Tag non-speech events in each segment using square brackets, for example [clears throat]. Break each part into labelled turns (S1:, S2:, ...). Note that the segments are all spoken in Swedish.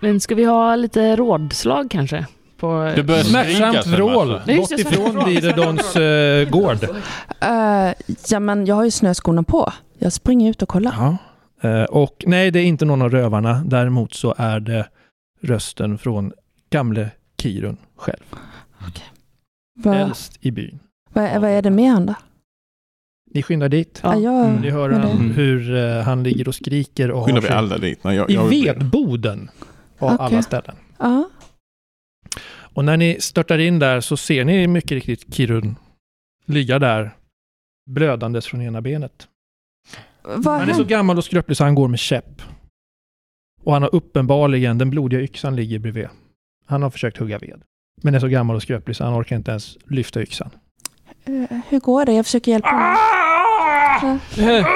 S1: Men ska vi ha lite rådslag kanske? På... Mm.
S2: Du börjar
S3: Smärtsamt
S2: skrika,
S3: vrål
S1: Nej, just
S3: bort
S1: det, smärtsamt
S3: ifrån
S1: vrål.
S3: Viredons eh, gård.
S4: Eh, ja, men jag har ju snöskorna på. Jag springer ut och kollar.
S3: Ja. Eh, och nej, det är inte någon av rövarna. Däremot så är det rösten från gamle Kirun själv.
S4: Vad
S3: Äldst i byn.
S4: va, vad är det med han då?
S3: Ni skyndar dit.
S1: Ja.
S4: Ja, jag,
S2: Mm,
S3: Ni hör
S4: men det-
S3: han, hur eh, han ligger och skriker och
S2: Skyndar
S3: har
S2: vi
S3: sig-
S2: alla dit? Nej, jag,
S3: i
S2: jag
S3: vedboden av
S4: Okej.
S3: alla ställen.
S4: ja.
S3: Och när ni störtar in där så ser ni mycket riktigt Kirun ligga där blödandes från ena benet.
S4: Vad
S3: Han är så
S4: hände?
S3: gammal och skröplig så han går med käpp. Och han har uppenbarligen, den blodiga yxan ligger bredvid. Han har försökt hugga ved. Men är så gammal och skröplig så han orkar inte ens lyfta yxan.
S4: Eh, hur går det? Jag försöker hjälpa honom. Ja.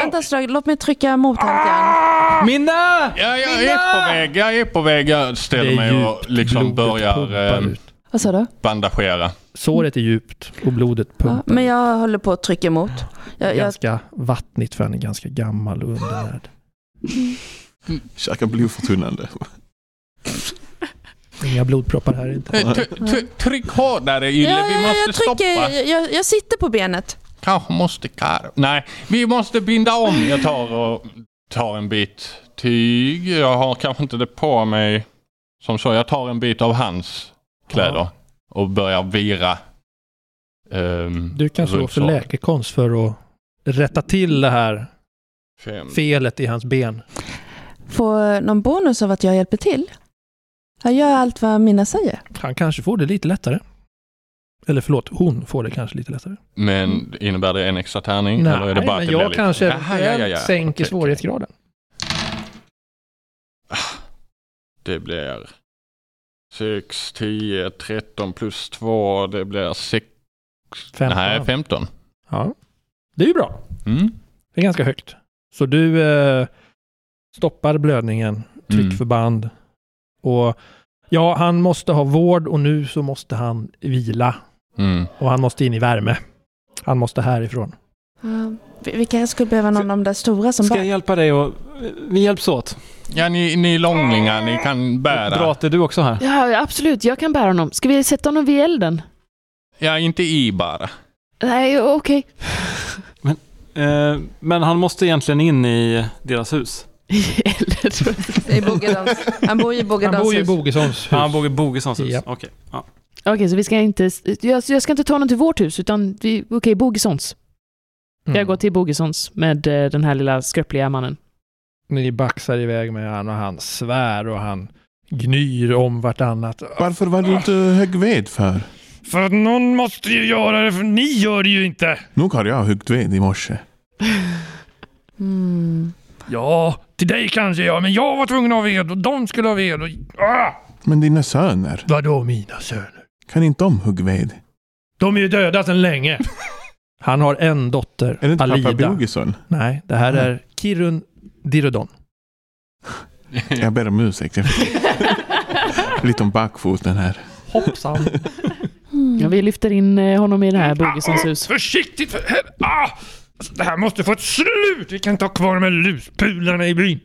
S4: Vänta ett slag, låt mig trycka emot honom lite grann.
S3: Minna!
S2: Ja, jag är på väg, jag är på väg. Jag ställer mig och liksom börjar eh,
S3: ut.
S4: Vad sa du?
S2: bandagera.
S3: Såret är djupt och blodet
S4: Ja,
S3: pumpar.
S4: men jag håller på att trycka emot. Jag, jag,
S3: Ganska vattnigt för han är ganska gammal och undernärd.
S2: Käka blodförtunnande.
S3: Inga blodproppar här inte.
S2: Eh, t- t- Tryck hårdare Ylle,
S4: jag,
S2: vi
S4: jag,
S2: måste
S4: jag, trycker,
S2: stoppa.
S4: jag- jag, jag sitter på benet.
S2: Kanske måste Karo... Nej, vi måste binda om. Jag tar och tar en bit tyg. Jag har kanske inte det på mig som så. Jag tar en bit av hans kläder och börjar vira. ehm,
S3: Du kan slå
S2: runt
S3: för
S2: så.
S3: läkekonst för att rätta till det här
S2: Fem.
S3: felet i hans ben.
S4: Får jag någon bonus av att jag hjälper till? Jag gör allt vad Minna säger.
S3: Han kanske får det lite lättare. Eller förlåt, hon får det kanske lite lättare.
S2: Men innebär det en extra tärning? Mm, eller är det bara att
S3: men
S2: det blir
S3: jag
S2: lite-
S3: kanske
S2: Jaha, ja, ja, ja.
S3: sänker
S2: Okej, okej.
S3: svårighetsgraden.
S2: Det blir 6, 10, 13 plus 2, det blir 6,
S3: 15.
S2: nej 15.
S3: Ja. Det är ju bra.
S2: Mm.
S3: Det är ganska högt. Så du eh, stoppar blödningen,
S2: Mm.
S3: tryckförband och ja, han måste ha vård och nu så måste han vila
S2: Mm.
S3: och han måste in i värme. Han måste härifrån.
S4: Ja, vi, vi kanske skulle behöva någon av de där stora som
S5: Ska jag
S4: bär.
S5: hjälpa dig och... Vi hjälps åt.
S2: Ja, ni, ni långlingar, ni kan bära.
S5: Drate, du också här?
S1: Ja, absolut. Jag kan bära honom. Ska vi sätta honom vid elden?
S2: Ja, inte i bara.
S1: Nej, [laughs] okej.
S5: Eh, men han måste egentligen in i deras hus.
S1: Eller...
S4: I Bogedans. Han bor ju i
S3: Han
S4: Bogedans
S3: bor ju i
S4: hus.
S3: Bogessons hus.
S5: Ah, han bor i Bogessons hus?
S3: Ja.
S5: Okej. Ja.
S1: Okej, så vi ska inte... Jag, jag ska inte ta honom till vårt hus, utan vi... Okej, Bogissons.
S3: Mm.
S1: Jag går till Bogissons med eh, den här lilla skröpliga mannen.
S3: Ni baxar iväg med han och han svär och han gnyr om vartannat.
S2: [laughs] Varför var du inte högg ved för?
S3: För att någon måste ju göra det, för ni gör det ju inte!
S2: Nog har jag huggt ved i morse.
S4: Mm.
S3: Ja, till dig kanske jag, men jag var tvungen att ha ved och de skulle ha ved och... Ah!
S2: Men dina söner,
S3: Vadå mina söner?
S2: kan inte de hugga ved?
S3: De är ju döda sedan länge! [laughs] Han har en dotter,
S2: Är det inte
S3: Alida.
S2: pappa
S3: [laughs]
S2: Mm. Bogesson?
S3: Nej, det här är Kirun Dirodon.
S2: Jag ber om ursäkt, jag fick lite om bakfoten här.
S3: Hoppsan!
S4: Mm.
S1: Ja, vi lyfter in eh, honom i det här Bogissons hus.
S3: Ah, Försiktigt för hel- ah! Alltså, Det här måste få ett slut! Vi kan inte ha kvar de här luspularna i byn.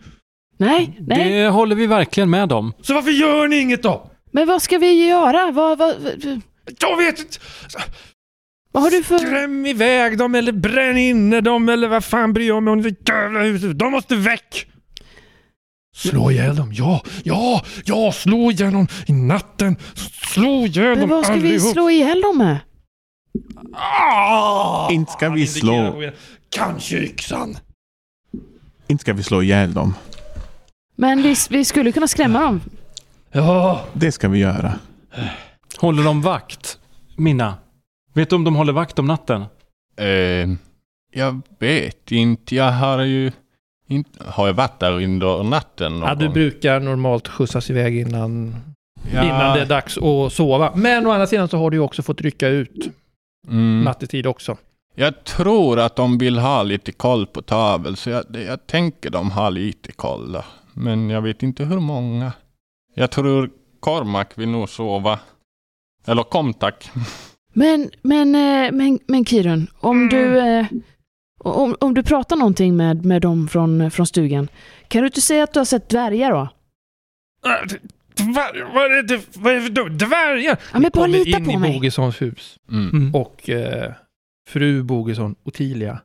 S1: Nej, nej.
S5: Det håller vi verkligen med om.
S3: Så varför gör ni inget då?
S1: Men vad ska vi göra? Vad, vad, vad,
S3: Jag vet inte!
S1: vad har du för...
S3: Skräm iväg dem eller bränn inne dem eller vad fan bryr jag mig om det jävla huset. De måste väck! Slå ihjäl dem, ja, ja, ja, slå ihjäl dem i natten. Slå ihjäl
S1: Men
S3: dem
S1: vad ska vi
S3: allihop.
S1: slå ihjäl dem med?
S3: Ah!
S2: Inte ska
S3: Han
S2: vi
S3: indikerar
S2: slå.
S3: med- Kanske yxan.
S2: Inte ska vi slå ihjäl dem.
S1: Men vi, vi skulle kunna skrämma dem.
S3: Ja,
S2: Det ska vi göra.
S5: Håller de vakt? Minna? Vet du om de håller vakt om natten?
S2: [laughs] Eh, jag vet inte. Jag har ju... Inte, har jag varit där under natten någon
S3: ja du
S2: gång?
S3: brukar normalt skjutsas iväg innan,
S2: Ja.
S3: innan det är dags att sova. Men å andra sidan så har du ju också fått rycka ut
S2: Mm.
S3: nattetid också.
S2: Jag tror att de vill ha lite koll på tavel, så jag, det- jag tänker de har lite koll. då. Men jag vet inte hur många. Jag tror Kormak vill nog sova. Eller Komtak. [laughs]
S1: Men, men, eh, men, men Kirun, om du... eh, Om, eh, om du pratar någonting med, med dem från, från stugan, kan du inte säga att du har sett dvärgar då?
S3: Äh, Dvärg, vad är det vad är det för dum- dvärgar?
S1: Ja, men bara
S3: Kommer
S1: lita
S3: in
S1: på
S3: i
S1: mig.
S3: Bogissons hus
S2: Mm.
S5: Mm.
S3: och eh, fru Bogesson, Ottilia,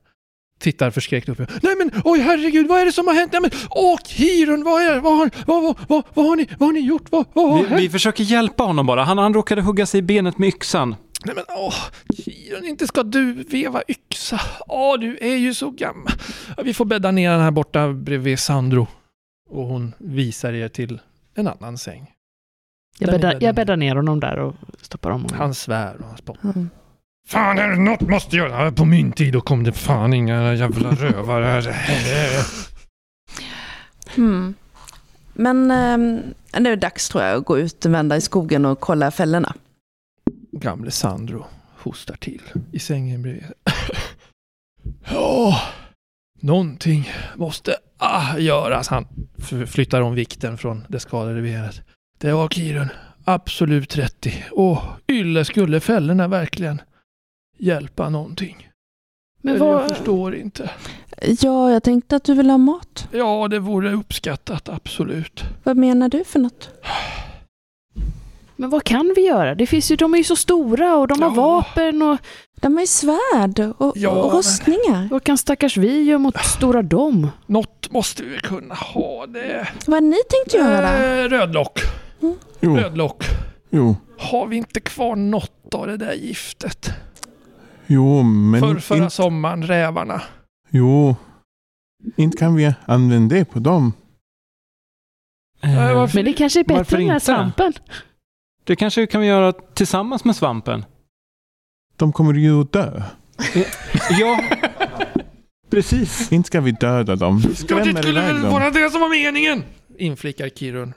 S3: tittar förskräckt upp. Nej men oj herregud, vad är det som har hänt? Nej men åk Hirun, vad, är, vad, har, vad, vad, vad, vad har ni, vad har ni gjort? Vad, vad har
S5: Vi,
S3: hänt?
S5: vi försöker hjälpa honom bara. Han, han råkade hugga sig i benet med yxan.
S3: Nej men åh, Hirun, inte ska du veva yxa. Åh, du är ju så gammal. Ja, Vi får bädda ner den här borta bredvid Sandro. Och hon visar er till en annan säng.
S1: Jag
S3: Där är
S1: bäddar,
S3: bädden.
S1: jag bäddar ner honom där och stoppar om honom.
S3: Han svär och han spottar.
S4: Mm.
S3: Fan, är det något måste jag göra? På min tid då kom det fan inga jävla rövare. här.
S4: Mm. Men ehm, nu är det dags tror jag att gå ut och vända i skogen och kolla fällorna.
S3: [laughs] Gamle Sandro hostar till i sängen [laughs] bredvid. ja, någonting måste ah, göras. Han f- flyttar om vikten från det skadade benet. Det var Kirun. Absolut 30. Och ylle skulle fällorna verkligen hjälpa någonting.
S1: Men
S3: Eller Jag
S1: vad...
S3: förstår inte.
S4: Ja, jag tänkte att du vill ha mat.
S3: Ja, det vore uppskattat, absolut.
S4: Vad menar du för något?
S1: Men vad kan vi göra? Det finns ju, de är ju så stora och de har
S3: Ja.
S1: vapen och
S4: De har ju svärd och,
S3: Ja,
S4: och
S3: men-
S4: rustningar.
S1: vad kan stackars vi göra mot stora dem?
S3: Något måste vi kunna ha. Det
S4: Vad har ni tänkt göra?
S3: Eh, rödlock. Oh.
S6: Jo,
S3: Rödlock.
S6: jo,
S3: Har vi inte kvar något av det där giftet?
S6: jo, men
S3: Förr, förra
S6: inte,
S3: sommaren, [laughs] rävarna.
S6: jo, inte kan vi använda det på dem.
S3: Nej, varför-
S1: Men det kanske är
S5: Varför
S1: bättre än den här
S5: inte?
S1: svampen.
S5: Eh, Det kanske vi kan göra tillsammans med svampen.
S6: De kommer ju att dö.
S5: Ja, precis.
S6: Inte ska vi döda dem. Vi
S3: Ja, det
S6: skrämmer
S3: skulle
S6: iväg
S3: väl
S6: dem.
S3: vara det som var meningen! Inflikar Kirun.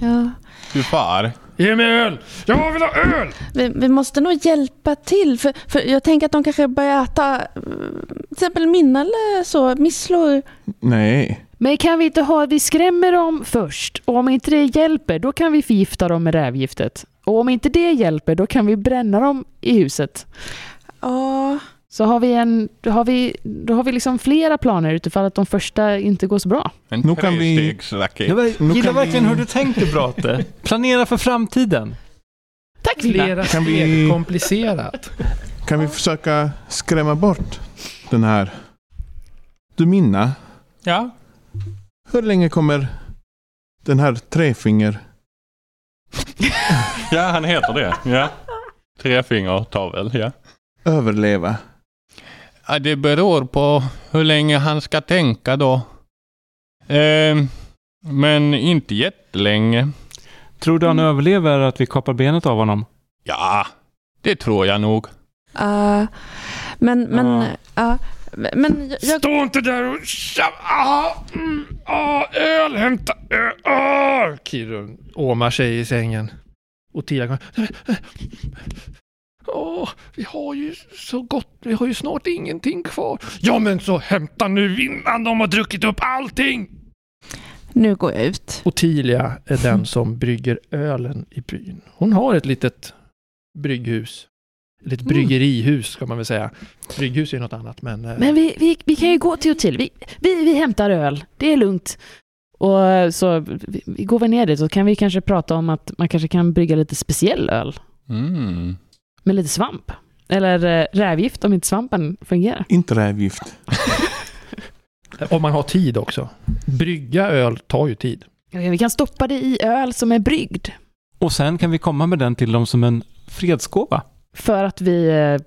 S4: Ja.
S2: Du far.
S3: Ge mig öl! Jag vill ha öl!
S4: Vi, vi måste nog hjälpa till. För, för jag tänker att de kanske börjar äta eh, till exempel minna eller så, misslor.
S6: Nej,
S1: Men kan vi inte ha, vi skrämmer dem först och om inte det hjälper då kan vi förgifta dem med rävgiftet. Och om inte det hjälper då kan vi bränna dem i huset.
S4: Ja,
S1: Så har vi en, då har vi, då har vi liksom flera planer utifall att de första inte går så bra.
S2: En
S6: Nu kan vi-
S2: trestegsraket.
S6: Nu
S5: Jag gillar
S6: kan vi-
S5: verkligen hur du tänker Brate. Planera för framtiden.
S1: Tack Vilma!
S3: Flera
S6: Kan vi-
S3: steg komplicerat.
S6: kan vi försöka skrämma bort den här? Du Minna,
S2: Ja.
S6: hur länge kommer den här trefinger...
S2: ja, han heter det. Ja. Tre fingrar tar väl, ja.
S6: överleva?
S2: Ja, det beror på hur länge han ska tänka då. Ehm, men inte jättelänge.
S5: Tror du han överlever att vi kapar benet av honom?
S2: Ja, det tror jag nog.
S4: eh, men, men,
S5: Ja.
S4: ja. men jag, jag,
S3: Stå inte där och tja- ah, mm, ah, öl! Hämta öl! Ah! Kirun åmar sig i sängen. Och Tia kommer. Åh, vi har ju så gott, vi har ju snart ingenting kvar. Ja men så hämta nu innan de har druckit upp allting!
S4: nu går jag ut.
S3: Ottilia är den som brygger ölen i byn. Hon har ett litet brygghus. Eller ett
S1: Mm.
S3: bryggerihus ska man väl säga. Brygghus är något annat men... eh,
S1: Men vi, vi, vi kan ju gå till och till. Vi, vi, vi hämtar öl. Det är lugnt. Och eh, så vi, vi går väl ner dit så kan vi kanske prata om att man kanske kan brygga lite speciell öl
S2: Mm.
S1: med lite svamp. Eller eh, rävgift om inte svampen fungerar.
S6: Inte rävgift.
S3: Om man har tid också. Brygga öl tar ju tid.
S1: Okej, Vi kan stoppa det i öl som är bryggd.
S5: Och sen kan vi komma med den till dem som en fredsgåva.
S1: För att vi eh,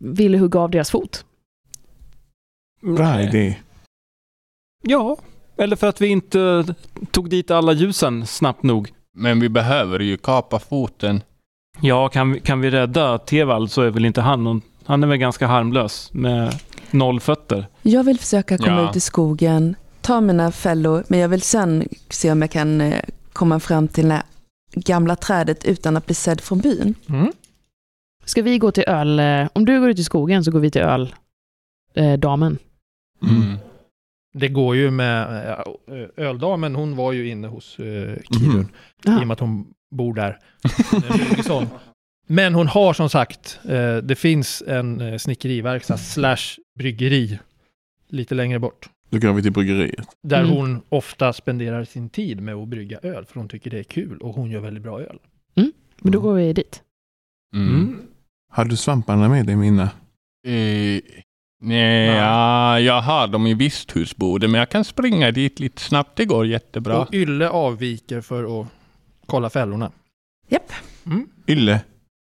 S1: ville hugga av deras fot.
S6: Bra idé.
S5: Ja, eller för att vi inte tog dit alla ljusen snabbt nog.
S2: Men vi behöver ju kapa foten.
S5: Ja, kan, vi- kan vi rädda Tevald så är väl inte han någon, Han är väl ganska harmlös med noll fötter.
S4: Jag vill försöka komma
S2: Ja.
S4: ut i skogen, ta mina fällor, men jag vill sen se om jag kan eh, komma fram till det här gamla trädet utan att bli sedd från byn.
S1: Ska vi gå till öl... Eh, om du går ut i skogen så går vi till öl. Eh, damen.
S2: Mm.
S3: Mm-hmm. Det går ju med eh, öldamen, hon var ju inne hos eh, Kirun.
S6: Mhm.
S3: I och med att hon bor där. Bogesson. Men hon har som sagt, eh, det finns en eh, snickeriverkstad slash bryggeri lite längre bort.
S6: Då kan vi till bryggeriet.
S3: Där
S1: Mm.
S3: hon ofta spenderar sin tid med att brygga öl, för hon tycker det är kul och hon gör väldigt bra öl.
S1: Men då går vi dit.
S2: Mm.
S6: Hade du svamparna med dig Minna?
S2: Eh, nej, ja, jag har dem i visthusboden, men jag kan springa dit lite snabbt. Det går jättebra.
S3: Och Ylle avviker för att kolla fällorna.
S4: Japp.
S3: Mm.
S6: Ylle,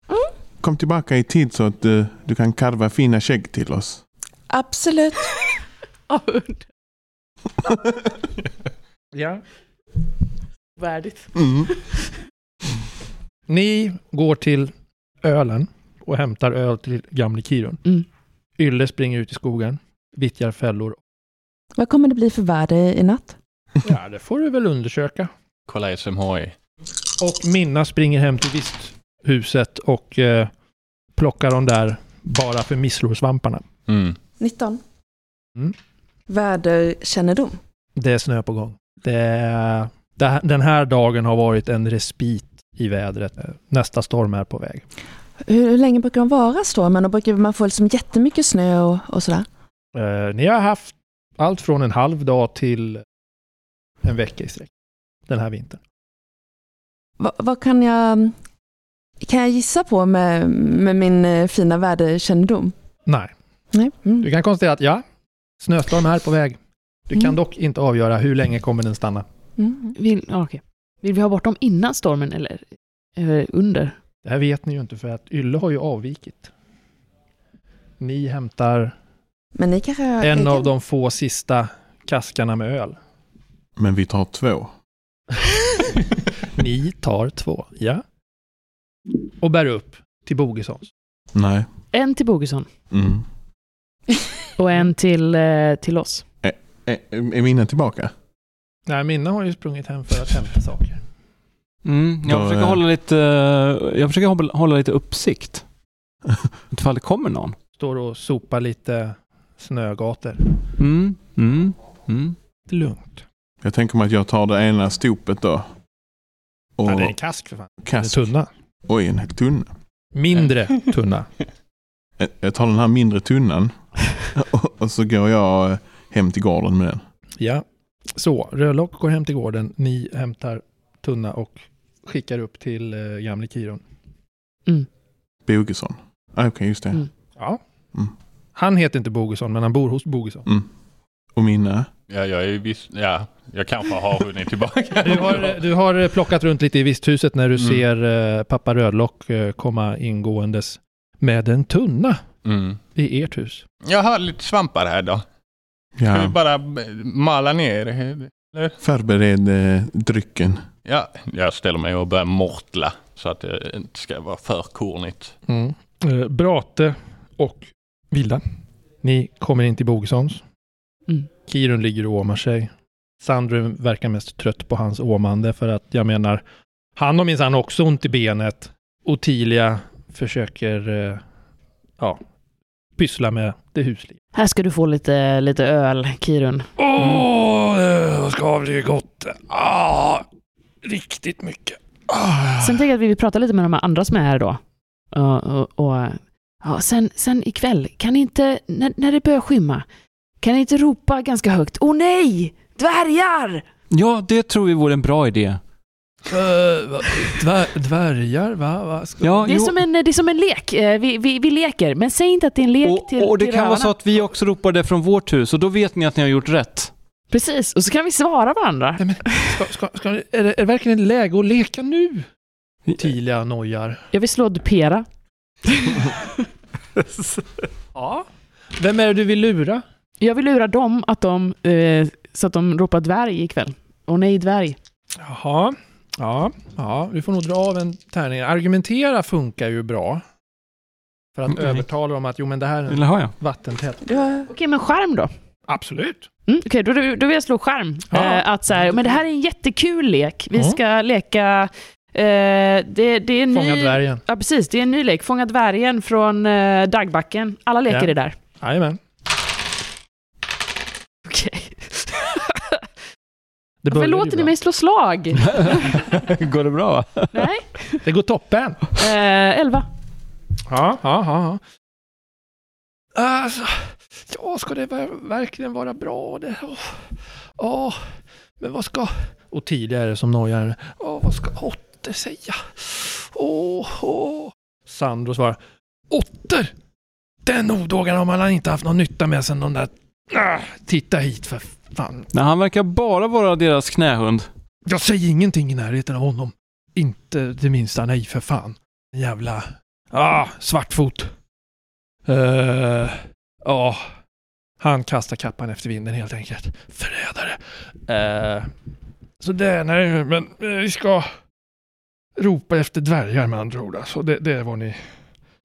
S4: Mm.
S6: kom tillbaka i tid så att eh, du kan karva fina skägg
S3: [laughs]
S6: till oss.
S4: Absolut.
S3: Ja.
S1: [laughs] [laughs] Värdigt.
S6: Mm.
S3: Ni går till ölen och hämtar öl till gamle Kirun.
S1: Mm.
S3: Ylle springer ut i skogen, vittjar fällor.
S4: Vad kommer det bli för väder i natt?
S3: Ja, det får du väl undersöka.
S2: Kolla SMHI.
S3: Och Minna springer hem till visthuset och eh, plockar de där bara för misslorsvamparna.
S2: Mm.
S4: 19.
S3: Mm.
S4: Väderkännedom.
S3: Det är snö på gång. Det, det, den här dagen har varit en respit i vädret. Nästa storm är på väg.
S4: Hur, hur länge brukar de vara stormen och brukar man få liksom jättemycket snö och, och sådär?
S3: Eh, ni har haft allt från en halv dag till en vecka i sträck den här vintern.
S4: Va, vad kan jag, kan jag gissa på med, med min eh, fina väderkännedom?
S3: Nej,
S4: Nej.
S3: du
S4: Mm.
S3: kan konstatera att ja, snöstorm är på väg. Du kan
S4: Mm.
S3: dock inte avgöra hur länge kommer den stanna.
S4: Mm.
S1: Vill, ja, okej. Vill vi ha bort dem innan stormen eller, eller under?
S3: Det här vet ni ju inte för att Ylle har ju avvikit. Ni hämtar
S4: Men ni kanske har
S3: en
S4: egen-
S3: av de få sista kaskarna med öl.
S6: Men vi tar två.
S3: Ni tar två, ja. Och bär upp till Bogissons.
S6: Nej.
S1: En till Bogesson
S6: Mm.
S1: och en till, eh, till oss.
S6: Är, är Minna tillbaka?
S3: Nej, Minna har ju sprungit hem för att hämta saker.
S5: Mm,
S6: Då,
S5: jag, försöker
S6: eh,
S5: hålla lite, eh, jag försöker hålla- hålla lite uppsikt. Ifall det kommer någon.
S3: Står och sopar lite snögator.
S5: Mm, mm, mm.
S3: Det är lugnt.
S6: Jag tänker mig att jag tar det ena stopet då. Och
S3: Ja, det är en kask för fan.
S6: kast.
S3: Det är tunna.
S6: Oj, en hel tunna.
S3: Mindre tunna.
S6: Jag- Eh, Jag tar den här mindre tunnan och, och så går jag eh, hem till gården med den.
S3: Ja. Så, Rödlock går hem till gården. Ni hämtar tunna och skickar upp till eh, gamle Kiron.
S1: Mm.
S6: Bogesson. Ah, Okej, just det.
S1: Mm.
S3: Ja.
S6: Mm.
S3: Han heter inte Bogesson, men han bor hos Bogesson.
S6: Mm. Och Minna?
S2: Ja, jag är viss... Ja, jag kanske har hunnit tillbaka. [laughs]
S3: Du har, eh, du har plockat runt lite i visthuset när du
S2: Mm.
S3: ser eh, pappa Rödlock eh, komma ingåendes med en tunna
S2: Mm.
S3: i ert hus.
S2: Jag har lite svampar här då. Ska vi
S6: Ja,
S2: bara b- mala ner?
S6: förbered eh, drycken.
S2: Ja, jag ställer mig och börjar mortla så att det inte ska vara för kornigt.
S3: Eh, Brate och Vilda. Ni kommer in till Bogessons.
S1: Mm.
S3: Kirun ligger och åmar sig. Sandrum verkar mest trött på hans åmande för att jag menar, han har minsann också ont i benet. Ottilia försöker, eh, ja, pyssla med det husliga.
S1: Här ska du få lite, lite öl, Kirun.
S3: Åh, det ska bli gott. Ah, riktigt mycket. Ah,
S1: Sen tänker jag att vi vill prata lite med de här andra som är här då. Ja, Och, och, ja, sen, sen ikväll, kan ni inte, när, när det börjar skymma, kan ni inte ropa ganska högt Åh nej! Dvärgar!
S5: Ja, det tror vi vore en bra idé.
S3: eh, dvärgar, va?
S5: Ja,
S1: Det är,
S5: jo,
S1: som en, det är som en lek. Eh, Vi, vi, vi leker, men säg inte att det är en lek till
S5: och, och det
S1: till
S5: kan vara
S1: rövarna.
S5: så att vi också ropar det från vårt hus och då vet ni att ni har gjort rätt.
S1: Precis, och så kan vi svara varandra.
S3: Ska, ska, ska, är, det, är det verkligen läge att leka nu? Tilia nojar.
S1: Jag vill slå dupera.
S3: Ja. Vem är det du vill lura?
S1: Jag vill lura dem att de, eh, så att de ropar dvärg ikväll. Åh nej, dvärg.
S3: Jaha. Ja, ja, vi får nog dra av en tärning. Argumentera funkar ju bra. För att
S5: Mm.
S3: övertala dem att jo men det här är en
S5: Eller har jag?
S3: vattentät.
S4: Du har...
S1: Okej, men skärm då?
S3: Absolut.
S1: Mm, Okej, då, då, då vill jag slå skärm.
S3: Ja.
S1: Eh, att så här, men det här är en jättekul lek. Vi
S3: Ja.
S1: ska leka... Eh, det, det är en
S3: Fånga
S1: ny,
S3: dvärgen.
S1: Ja, precis. Det är en ny lek. Fånga dvärgen från eh, Daggbacken. Alla leker
S3: Ja.
S1: det där. [laughs]
S3: Jajamän.
S1: Okej.
S3: Det
S1: Varför
S3: börjar ju
S1: låter ni
S3: bra.
S1: mig slå slag?
S5: [laughs] Går det bra?
S1: Nej.
S3: Det går toppen.
S1: Eh, elva.
S3: Ja, ja, ja. ja. Alltså, ja, ska det ver- verkligen vara bra? Det, åh, åh, men vad ska... Och tidigare som nojar. Åh, vad ska Otter säga? Åh, åh. Sandro svarar. Otter! Den odågan har man inte haft någon nytta med sen de där... Ah, titta hit för fan.
S5: Nej, han verkar bara vara deras knähund.
S3: Jag säger ingenting i närheten av honom. Inte det minsta, nej för fan. Jävla... Ah, svartfot. Eh, Ja, han kastar kappan efter vinden helt enkelt. Förrädare. Eh, så det, nej, men eh, vi ska ropa efter dvärgar med andra ord. Alltså, det, det är vad ni,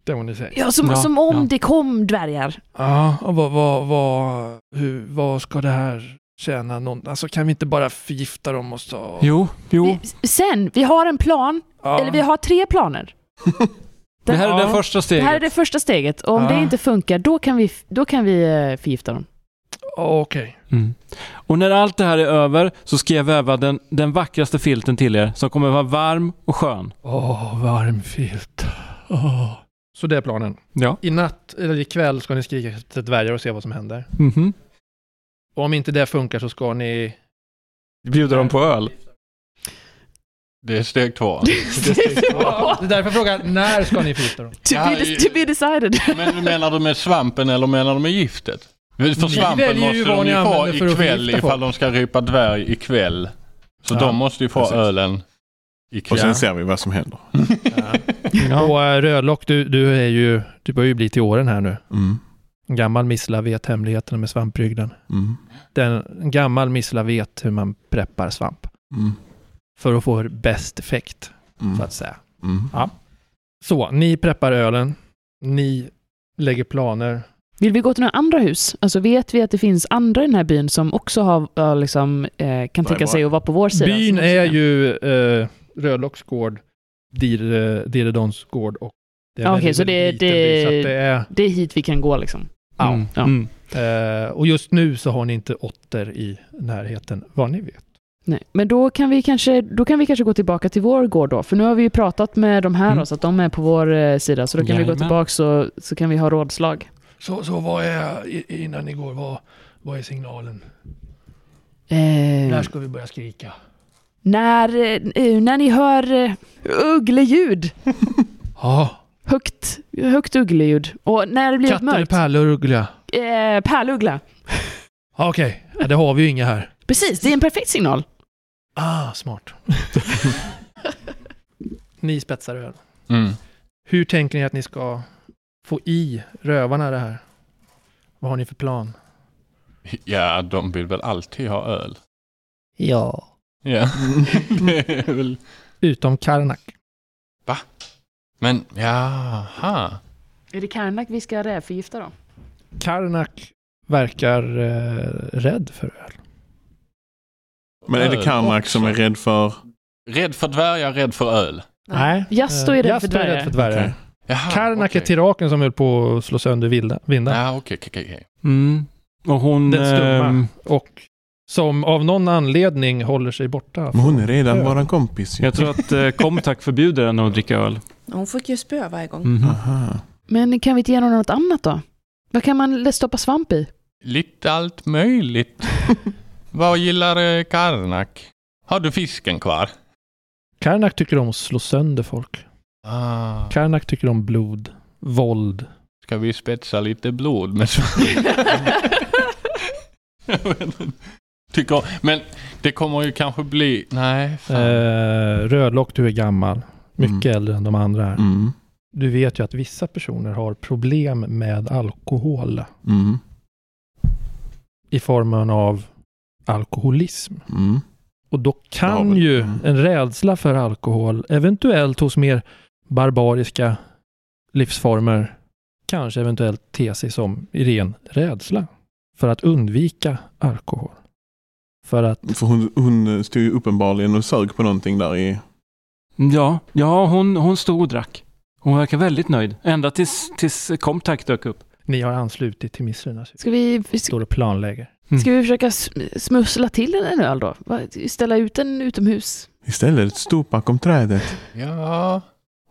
S3: det är vad ni säger.
S1: Ja, som,
S5: Ja,
S1: som om
S5: ja.
S1: det kom dvärgar.
S3: Ja, och vad, vad, vad, hur, vad ska det här tjäna någon? Alltså kan vi inte bara förgifta dem och så?
S5: Jo, jo.
S1: Vi, sen, vi har en plan,
S3: Ja.
S1: eller vi har tre
S3: [laughs]
S1: planer.
S5: Det här är
S3: Ja.
S5: det första
S1: Det
S5: steget.
S1: här är det första steget. Och om
S3: Ja.
S1: det inte funkar, då kan vi, då kan vi eh, förgifta
S3: [laughs]
S1: dem.
S3: Okej.
S5: Mm. Och när allt det här är över så ska jag väva den, den vackraste filten till er som kommer vara varm och skön.
S3: Åh, varm filt. Åh. Så det är planen.
S5: Ja.
S3: I natt, eller ikväll, ska ni skrika efter dvärgar och se vad som händer.
S5: Mhm.
S3: Och om inte det funkar så ska ni...
S5: Bjuder dem på öl?
S2: Det är steg två.
S3: Det är därför jag frågar, när ska ni förgifta dem?
S1: [laughs] To be, de- to be
S3: [laughs]
S1: decided.
S2: Men menar du med svampen eller menar du med giftet? För
S3: Ni
S2: svampen
S3: väljer ju
S2: måste
S3: vad
S2: de
S3: ni
S2: ju få
S3: använder för att
S2: ikväll
S3: förgifta
S2: ifall
S3: folk.
S2: de ska rypa dvärg ikväll. Så
S3: Ja,
S2: de måste ju få
S6: precis.
S2: ölen
S6: Och
S2: ikväll.
S6: sen
S3: Ja.
S6: ser vi vad som händer.
S5: Ja.
S3: Och äh, Rödlock, du, du är ju... Du börjar ju bli till åren här nu.
S6: Mm.
S3: En gammal missla vet hemligheterna med svamprygden.
S6: Mm.
S3: Den, en gammal missla vet hur man preppar svamp.
S6: Mm.
S3: För att få bäst effekt, så
S6: Mm.
S3: att säga.
S6: Mm.
S3: Så, ni preppar ölen. Ni lägger planer.
S1: Vill vi gå till några andra hus? Alltså vet vi att det finns andra i den här byn som också har, ja, liksom, eh, kan
S6: Vad är
S1: tänka sig att vara på vår sida?
S3: Byn
S1: Som-
S3: är ju eh, Rödlocks gård, Dire- Diredons gård och det är en
S1: Okej,
S3: väldigt,
S1: så det-
S3: väldigt liten
S1: det-
S3: by, så att
S1: Det är hit vi kan gå liksom.
S3: Mm.
S1: Ja.
S5: Mm.
S3: det är, eh, och just nu så har ni inte åtter i närheten, vad ni vet.
S1: Nej. Men då kan, vi kanske, då kan vi kanske gå tillbaka till vår gård då. För nu har vi ju pratat med de här
S5: Mm.
S1: då, så att de är på vår eh, sida. Så då kan vi gå
S5: Jajamän.
S1: tillbaka så, så kan vi ha rådslag.
S3: Så, så vad är, innan ni går, vad, vad är signalen?
S1: Eh,
S3: ska vi börja skrika?
S1: när, eh, när ni hör eh, uggleljud,
S3: Ja,
S1: högt, högt uggleljud. Och när det blir
S3: katt eller
S1: mörkt,
S3: pärlurgla?
S1: eh, pärluggla.
S3: Ja, Okej, ja, det har vi ju inga här.
S1: Precis, det är en perfekt
S5: [laughs]
S1: signal.
S3: Ah, smart. ni spetsar öl.
S2: [laughs] Mm.
S3: Hur tänker ni att ni ska få i rövarna det här? Vad har ni för plan?
S2: Ja, de vill väl alltid ha öl.
S3: Ja.
S2: Ja.
S6: Mm.
S2: [laughs] Det är väl-
S3: Utom Karnak.
S2: Men, jaha.
S1: Är det Karnak vi ska rävförgifta då?
S3: Karnak verkar eh, rädd för öl.
S6: Men är det
S2: Öl
S6: Karnak som är
S2: också.
S6: rädd för...
S2: Rädd för dvärgar, rädd för öl.
S3: Nej.
S1: Jasto är
S3: Eh,
S1: rädd
S3: Jasto
S1: för dvärgar.
S6: Okej.
S2: Jaha,
S3: Karnak
S2: Ah, okej.
S3: är tiraken som höll på att slå sönder vilda- vindarna.
S2: Ja, okej, okej, okej, okej.
S5: Mm. Och hon...
S3: Den stumma.
S5: ehm,
S3: Och som av någon anledning håller sig borta.
S6: Men hon är redan våran kompis ju.
S5: jag tror att eh, Comtac förbjuder henne att dricka öl.
S4: Hon fick ju spö varje
S3: Mm.
S4: gång.
S5: Mhm.
S6: Aha.
S1: Men kan vi inte ge honom något annat då? Vad kan man stoppa svamp
S5: [laughs]
S1: i?
S2: Lite allt
S3: [laughs]
S2: möjligt. Vad gillar eh, Karnak? Har du fisken kvar?
S3: Karnak tycker om att slå sönder folk.
S2: Ah.
S3: Karnak tycker om blod, våld.
S2: Ska vi spetsa lite blod med Jag vet inte. [laughs] Tycker, men det kommer ju kanske bli... Nej,
S3: Eh,
S2: fan.
S3: Rödlock, du är gammal. Mycket äldre än de andra här.
S6: Mm.
S3: Du vet ju att vissa personer har problem med alkohol
S6: Mm.
S3: i formen av alkoholism.
S6: Mm.
S3: Och då
S6: har
S3: kan
S6: väl-
S3: ju
S6: mm.
S3: en rädsla för alkohol, eventuellt hos mer barbariska livsformer, kanske eventuellt te sig som ren rädsla för att undvika alkohol. För att
S6: För hon, hon stod ju uppenbarligen och sög på någonting där i...
S5: Mm. Ja, ja hon, hon stod och drack. Hon verkar väldigt nöjd. Ända tills, tills Comtac dök upp.
S3: ni har anslutit till Missrönas hus.
S1: Ska vi, ska
S3: Står och planlägger.
S1: ska vi försöka sm- smussla till en öl då? Va- Ställa ut den utomhus?
S6: Istället stod bakom trädet.
S2: Ja,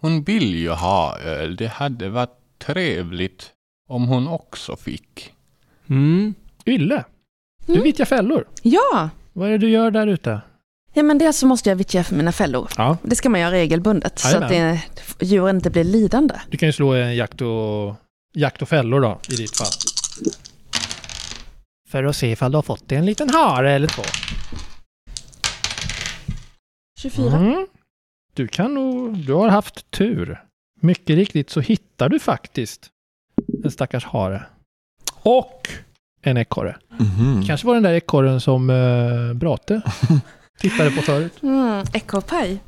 S2: hon vill ju ha öl. Det hade varit trevligt. om hon också fick.
S5: Mm.
S3: Ylle, du
S4: Mm.
S3: vittjar fällor.
S4: Ja!
S3: Vad är det du gör där ute?
S4: Ja, men dels så måste jag vittja för mina fällor.
S3: Ja.
S4: Det ska man göra regelbundet, så att
S3: Jajamän.
S4: det, djuren inte blir lidande.
S3: Du kan ju slå en jakt och, jakt och fällor då, i ditt fall. För att se ifall du har fått dig en liten hare eller två.
S4: 24.
S3: Mm. Du kan nog, du har haft tur. Mycket riktigt så hittar du faktiskt en stackars hare. Och en ekorre.
S6: Mhm.
S3: Kanske var den där ekorren som eh, [laughs] Brate tittade på förut.
S4: Mm, Ekorrpaj.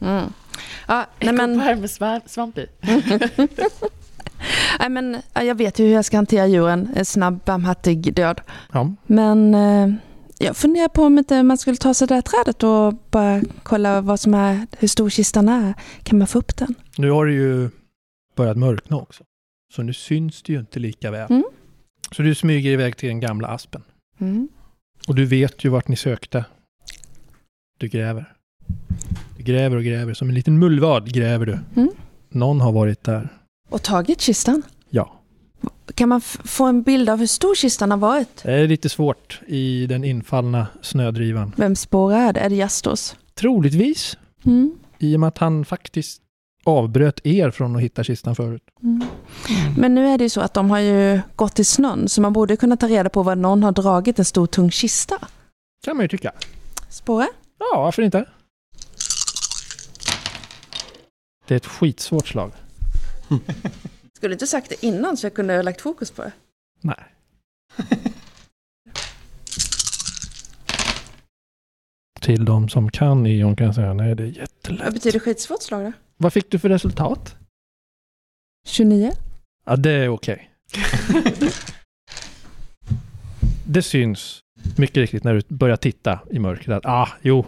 S4: Mm. Ja, nej men,
S1: Kom här med sva- svamp i.
S4: [laughs] nej men, ja, jag vet ju hur jag ska hantera djuren. En snabb, barmhärtig död.
S3: Ja.
S4: Men eh, jag funderar på om inte man skulle ta sig det där trädet och bara kolla vad som är, hur stor kistan är. Kan man få upp den?
S3: Nu har det ju börjat mörkna också. Så nu syns det ju inte lika väl.
S4: Mm.
S3: Så du smyger iväg till den gamla aspen.
S4: Mm.
S3: Och du vet ju vart ni sökte. Du gräver. Du gräver och gräver. Som en liten mullvad gräver du.
S4: Mm.
S3: Någon har varit där.
S4: Och tagit kistan?
S3: Ja.
S4: Kan man f- få en bild av hur stor kistan har varit?
S3: Det är lite svårt i den infallna snödrivan.
S4: Vems spår är det? Är det Jastos?
S3: Troligtvis
S4: Mm.
S3: i och med att han faktiskt avbröt er från att hitta kistan förut.
S4: Mm. Men nu är det ju så att de har ju gått i snön så man borde kunna ta reda på var någon har dragit en stor tung kista.
S3: Kan man ju tycka.
S4: Spåra?
S3: Ja, varför inte? Det är ett skitsvårt slag.
S6: Mm-hmm.
S4: Skulle inte sagt det innan så jag kunde ha lagt fokus på det.
S3: Nej. [laughs] Till de som kan Ion kan jag säga nej, det är jättelätt.
S4: skitsvårt slag då?
S3: Vad fick du för resultat?
S4: 29.
S3: Ja, det är okej. Det syns mycket riktigt när du börjar titta i mörkret. att, Ah, jo.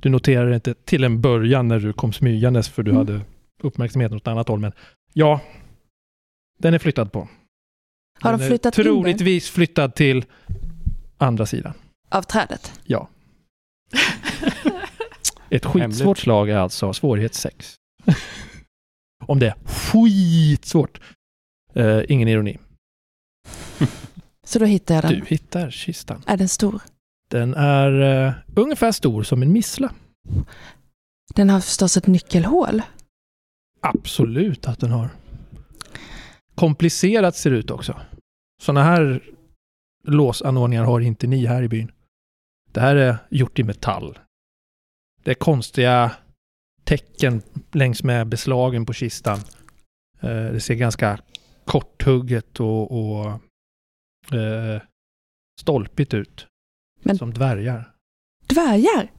S3: Du noterar det inte till en början när du kom smygandes för du
S4: Mm.
S3: hade uppmärksamheten åt ett annat håll. Men ja, den är flyttad på.
S4: Har de
S3: Den är
S4: flyttat in den?
S3: Troligtvis flyttad till andra sidan.
S4: Av trädet?
S3: Ett skitsvårt
S5: Hemligt.
S3: slag är alltså svårighet 6. [laughs] Om det är skitsvårt. Eh, ingen ironi.
S4: Så då hittar jag den.
S3: Du hittar kistan.
S4: Är den stor?
S3: Den är eh, ungefär stor som en missla.
S4: Den har förstås ett nyckelhål.
S3: Absolut att den har. Komplicerat ser det ut också. Sådana här låsanordningar har inte ni här i byn. Det här är gjort i metall. Det är konstiga tecken längs med beslagen på kistan. Eh, Det ser ganska korthugget och, och eh, stolpigt ut.
S4: Men-
S3: Som dvärgar.
S4: Dvärgar?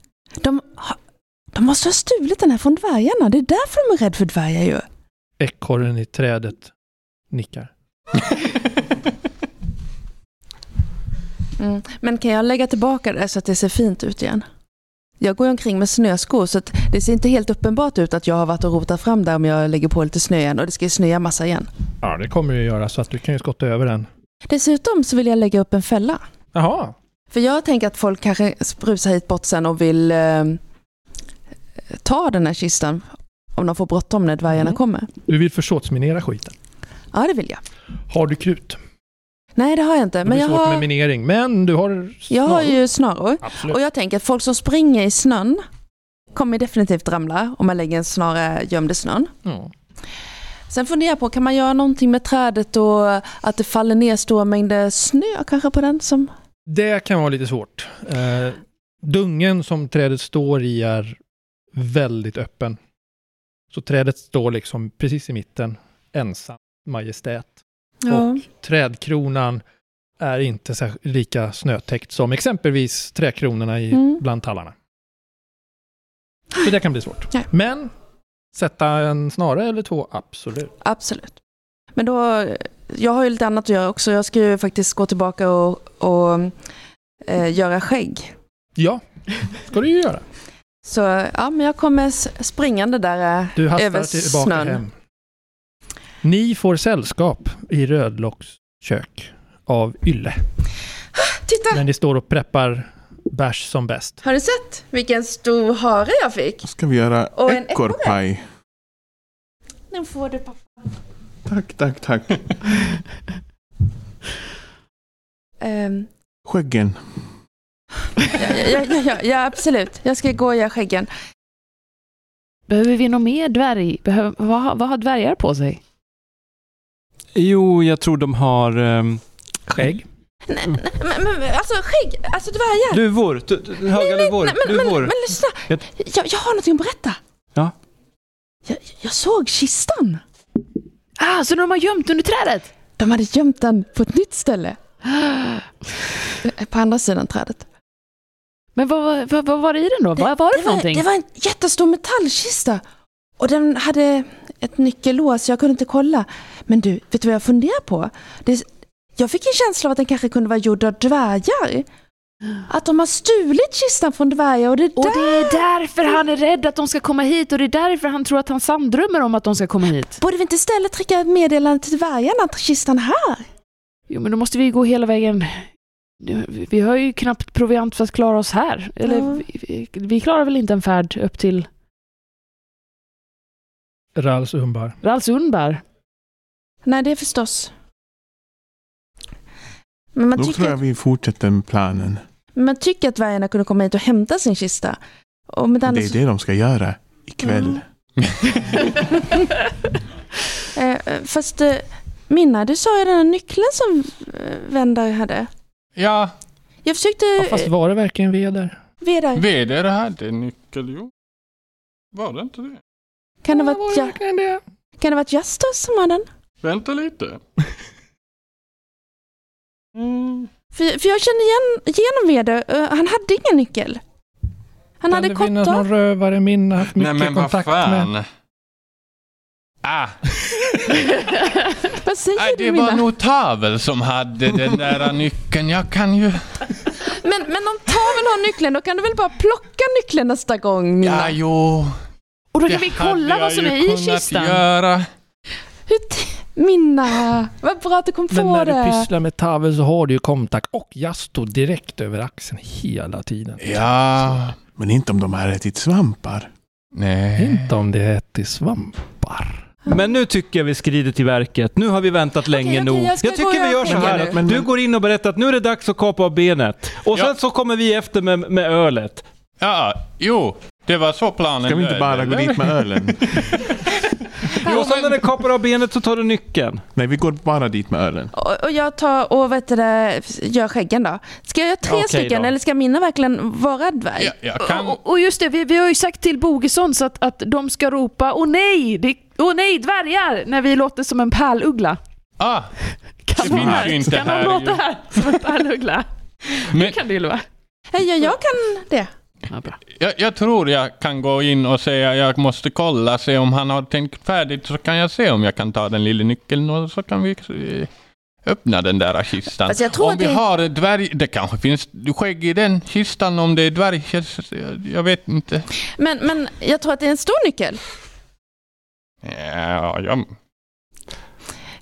S4: De, har- de måste ha stulit den här från dvärgarna. Det är därför de är rädda för dvärgar ju.
S3: Ekorren i trädet nickar.
S4: Mm. Men kan jag lägga tillbaka det så att det ser fint ut igen? Jag går ju omkring med snöskor så att det ser inte helt uppenbart ut att jag har varit och rotat fram där om jag lägger på lite snö igen och det ska ju snöa massa igen.
S3: Ja, det kommer ju göra så att du kan ju skotta över den.
S4: Dessutom så vill jag lägga upp en fälla.
S3: Jaha,
S4: För jag tänker att folk kanske rusar hit bort sen och vill eh, ta den här kistan om de får bråttom när dvärgarna
S3: Mm.
S4: kommer.
S3: Du vill försåtsminera skiten.
S4: Ja, det vill jag.
S3: Har du krut?
S4: Nej, det har jag inte.
S3: Det
S4: Men
S3: blir
S4: jag
S3: svårt med
S4: har,
S3: minering, men du har
S4: jag har
S3: snaror.
S4: ju snaror.
S3: Absolut.
S4: Och jag tänker att folk som springer i snön kommer definitivt ramla om man lägger en snara gömd i snön.
S3: Ja.
S4: Sen funderar jag på, kan man göra någonting med trädet och att det faller ner stora mängder snö kanske på den? Som...
S3: Det kan vara lite svårt. Eh, dungen som trädet står i är väldigt öppen. Så trädet står liksom precis i mitten, ensam, majestät. Och trädkronan är inte särsk- lika snötäckt som exempelvis trädkronorna i,
S4: Mm.
S3: bland tallarna. Så det kan bli svårt.
S4: Nej.
S3: Men sätta en snara eller två, absolut.
S4: Absolut. Men då, jag har ju lite annat att göra också. Jag ska ju faktiskt gå tillbaka och, och eh, göra skägg.
S3: Ja, ska du ju göra.
S4: Så ja, men jag kommer s- springande där. eh.
S3: Du hastar
S4: Över
S3: tillbaka
S4: snön.
S3: hem. Ni får sällskap i Rödlocks kök av Ylle.
S4: Ah, Titta,
S3: Men ni står och preppar bärs som bäst.
S4: har du sett vilken stor hare jag fick?
S6: Då ska vi göra
S4: Och en ekorre.
S6: ekorrpaj.
S4: Den får du pappa.
S6: Tack, tack, tack.
S4: Ehm,
S6: Skäggen.
S4: ja, ja, ja, ja, ja, absolut. Jag ska gå och göra skäggen.
S1: Behöver vi något mer dvärg? Behöver, vad, har- vad har dvärgar på sig?
S5: Jo, jag tror de har... ehm,
S3: Skägg?
S7: Men, men men, alltså skägg, alltså dvärgar.
S5: Duvor! Du, du, höga duvor!
S7: Nej, men, men,
S5: Duvor!
S7: men lyssna,
S5: Jag-
S7: jag, jag har någonting att berätta.
S5: Ja.
S7: Jag, jag såg kistan.
S1: Ah, så de har gömt under trädet?
S4: De hade gömt den på ett nytt ställe. På andra sidan trädet.
S1: Men vad, vad, vad var det i den då? vad var det,
S7: det,
S1: för
S7: var,
S1: någonting?
S7: det var en jättestor metallkista.
S4: Och den hade ett nyckellås, jag kunde inte kolla. Men du, vet du vad jag funderar på? Det, jag fick en känsla av att den kanske kunde vara gjord av dvärgar. Att de har stulit kistan från dvärgar och det
S1: Och
S4: där...
S1: det är därför han är rädd att de ska komma hit och det är därför han tror att han samdrömmer om att de ska komma hit.
S4: Borde vi inte istället skicka ett meddelande till dvärgarna att kistan är här?
S1: Jo, men då måste vi ju gå hela vägen. Nu- Vi har ju knappt proviant för att klara oss här. Eller
S4: Ja.
S1: vi- vi, vi klarar väl inte en färd upp till
S3: Rals Umbar.
S1: Ralsundberg?
S4: Nej, det är förstås. Men man
S6: Då
S4: tycker,
S6: tror jag vi fortsätter med planen.
S4: man tycker att dvärgarna kunde komma hit och hämta sin kista. Och med
S6: Det är det de ska göra
S3: Mm.
S6: ikväll.
S4: Eh, fast eh, Minna, du sa ju den här nyckeln som eh, Vendar hade.
S2: Ja,
S4: Jag försökte... eh,
S3: Ja, fast var det verkligen veder?
S4: Vedar,
S2: vd är det här. Det är nyckel, jo. Var det inte det?
S4: kan det ha varit, ja, kan det ha varit Justus som har den?
S2: Vänta lite. Mm.
S4: För, för jag känner igen, igenom Vedar, eh, han hade ingen nyckel. Han
S3: Kan
S4: hade
S3: det finnas någon
S4: kottar.
S3: rövare Minna haft
S2: Nej
S3: mycket
S2: men vad
S3: kontakt med?
S2: fan. Ah,
S4: Vad säger
S2: nej, det var
S4: du Minna?
S2: nog Tavel som hade
S1: [laughs]
S2: den där nyckeln. Jag kan ju...
S4: Men, men om Taven har nyckeln, då kan du väl bara plocka nyckeln nästa gång Minna?
S2: Ja, jo.
S1: Och då
S2: Det
S1: kan vi
S2: hade
S1: kolla
S2: jag
S1: vad som
S2: ju
S1: är i
S2: kunnat
S1: kistan.
S2: Göra.
S4: Hur t- Minna, vad bra att du kom
S3: Men
S4: på
S3: när du
S4: det.
S3: pysslar med Tavel så har du ju Komtak och Jasto direkt över axeln hela tiden.
S2: Ja.
S6: Men inte om de har ätit svampar.
S2: Nej.
S3: Inte om det är till svampar.
S5: Men nu tycker jag vi skrider till verket. Nu har vi väntat länge
S4: okej,
S5: nog.
S4: jag
S5: Jag,
S4: ska gå
S5: tycker vi
S4: och
S5: gör så
S4: göra
S5: här.
S4: skägg
S6: nu.
S5: Att
S6: Men-
S5: du
S6: men-
S5: går in och berättar att nu är det dags att kapa av benet. Och
S2: Ja.
S5: sen så kommer vi efter med, med ölet.
S2: Ja, jo. Det var så planen
S6: Ska vi inte
S2: löd,
S6: bara gå
S2: eller?
S6: dit med ölen?
S5: Jo, och sen när den kapar av benet så tar du nyckeln.
S6: Nej, vi går bara dit med ölen.
S4: Och, och jag tar och vet du, det, gör skäggen då. Ska jag göra tre
S5: Okej
S4: stycken
S5: då.
S4: eller ska Minna verkligen vara dvärg?
S2: Ja, jag kan...
S1: Och, och just det, vi, vi har ju sagt till Bogesson så att, att de ska ropa åh nej, det, åh nej dvärgar när vi låter som en pärluggla.
S2: Ah,
S1: Kan
S2: Det
S1: de,
S2: finns
S1: här,
S2: ju inte
S1: kan
S2: här
S1: de låta
S2: ju.
S1: här som en pärluggla?
S2: men
S1: kan det ju vara.
S4: Hej, ja, jag kan det.
S1: Ja, bra.
S2: jag, jag tror jag kan gå in och säga jag måste kolla, se om han har tänkt färdigt så kan jag se om jag kan ta den lilla nyckeln och så kan vi eh, öppna den där kistan.
S7: Fast jag tror
S2: om
S7: att
S2: vi
S7: det-
S2: har ett dvärg... Det kanske finns skägg i den kistan om det är dvärg... jag- Jag vet inte.
S4: Men, men jag tror att det är en stor nyckel.
S2: Ja, jag...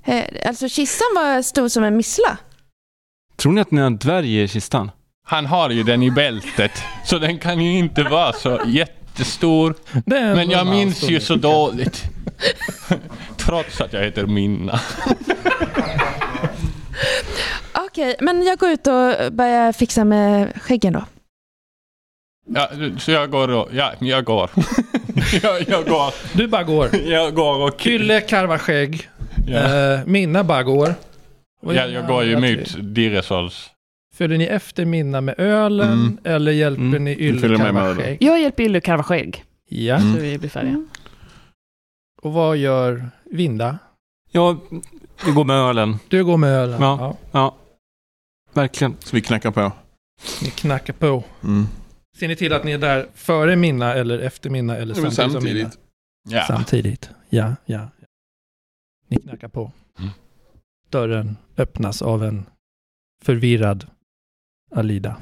S4: Eh, Alltså kistan var stor som en missla.
S5: Tror ni att ni har en dvärg i kistan?
S2: Han har ju den i bältet, så den kan ju inte vara så jättestor.
S3: Det är
S2: Men jag
S3: en
S2: minns
S3: stor
S2: ju så
S3: nyckel.
S2: dåligt. [laughs] Trots att jag heter Minna.
S4: Okej, men jag går ut och börjar fixa med skäggen då.
S2: Ja, så jag går och... Ja, jag går. [laughs] jag, jag går.
S3: Du bara går.
S2: Jag går och...
S3: Kylle karvar skägg.
S2: Ja,
S3: Eh, Minna bara går. Och
S2: jag, jag går ju
S3: andra
S2: emot Dirresols.
S3: Följer ni efter Minna med ölen
S6: Mm.
S3: eller hjälper
S5: Mm.
S3: ni
S6: följer
S3: Ylle
S6: med med
S3: karva
S6: ölen.
S3: skägg?
S1: Jag hjälper Ylle karva skägg.
S3: Ja.
S1: Så vi blir färdiga.
S4: Mm.
S3: Och vad gör Vinda?
S5: Ja, vi går med ölen.
S3: Du går med ölen.
S5: Ja. Verkligen.
S6: Så vi knackar på.
S3: Ni knackar på.
S6: Mm.
S3: Ser ni till att ni är där före Minna eller efter Minna eller
S6: Ja, men
S3: samtidigt, som Minna?
S2: Ja.
S3: Samtidigt. Ja, ja. Ni knackar på.
S2: Mm.
S3: Dörren öppnas av en förvirrad Alida.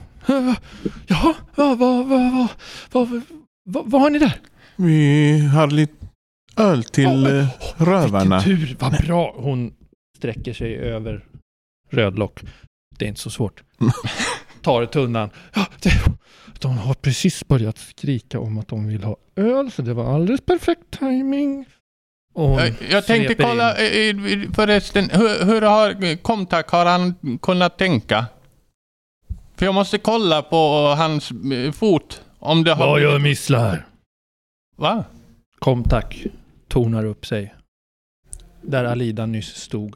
S3: Jaha, vad, vad, vad, vad, vad, vad, vad har ni där?
S6: Vi har lite öl till
S3: Åh,
S6: eh, rövarna. [laughs]
S3: Vilken tur, vad bra! Hon sträcker sig över Rödlock. Det är inte så svårt. Tar tunnan. Ja, det, de har precis börjat skrika om att de vill ha öl, så det var alldeles perfekt timing. Och hon
S2: Jag, jag tänkte
S3: sveper in.
S2: kolla eh, eh, förresten, hur, hur har Komtak, har han kunnat tänka? För jag måste kolla på hans eh, fot. Om det har...
S3: Vad gör Missla här?
S2: Va?
S3: Kom tack. Tonar upp sig. Där Alida nyss stod.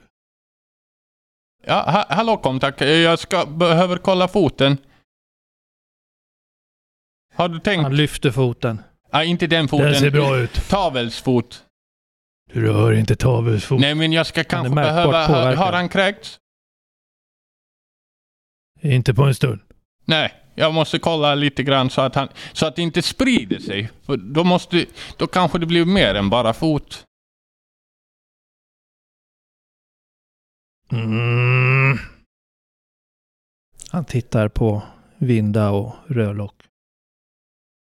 S2: Ja, ha, hallå Komtak, eh, jag ska, behöver kolla foten. Har du tänkt?
S3: Han lyfter foten.
S2: Ja, inte den foten.
S3: Den ser bra ut.
S2: Tavelsfot.
S3: Du rör inte Taves fot.
S2: Nej men jag ska kanske
S3: märkbart
S2: behöva... Har,
S3: påverkad.
S2: har han kräkts?
S3: Inte på en stund.
S2: Nej, jag måste kolla lite grann så att, han, så att det inte sprider sig. För då, måste, då kanske det blir mer än bara fot.
S3: Mm. Han tittar på Vinda och Rödlock.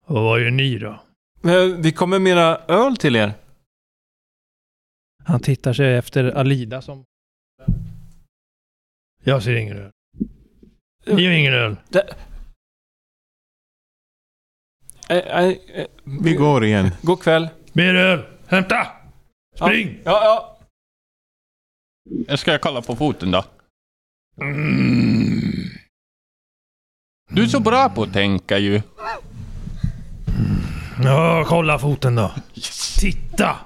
S3: Och vad gör ni då?
S5: Eh, Vi kommer mera öl till er.
S3: Han tittar sig efter Alida som... Jag ser ingen öl. Ni har ingen öl.
S5: Eh, eh, eh,
S8: Vi går igen.
S5: God kväll.
S3: Mer öl! Hämta!
S5: Ja.
S3: Spring!
S5: Ja, ja.
S2: Jag Eh, ska kolla på foten då.
S3: Mm.
S2: Du är så bra på att tänka ju.
S3: Ja, kolla foten då. Titta!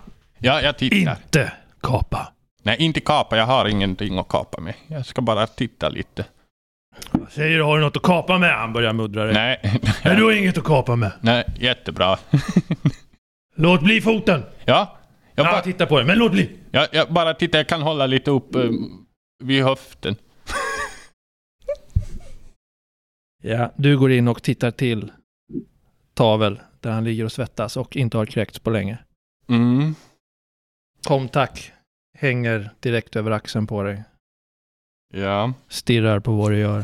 S2: Ja, jag tittar.
S3: Inte kapa.
S2: Nej, inte kapa. Jag har ingenting att kapa med. Jag ska bara titta lite.
S3: Jag säger du, har du något att kapa med? Han börjar muddra dig.
S2: Nej, [laughs]
S3: Nej, du har inget att kapa med.
S2: nej, jättebra.
S3: Låt bli foten!
S2: Ja, jag,
S3: Ja,
S2: bara,
S3: titta på den, men låt bli!
S2: jag, jag bara tittar. Jag kan hålla lite upp eh, vid höften.
S3: Ja, du går in och tittar till Tavel, där han ligger och svettas och inte har kräkts på länge.
S2: Mm.
S3: Kom tack. Hänger direkt över axeln på dig.
S2: Ja.
S3: Stirrar på vad du gör.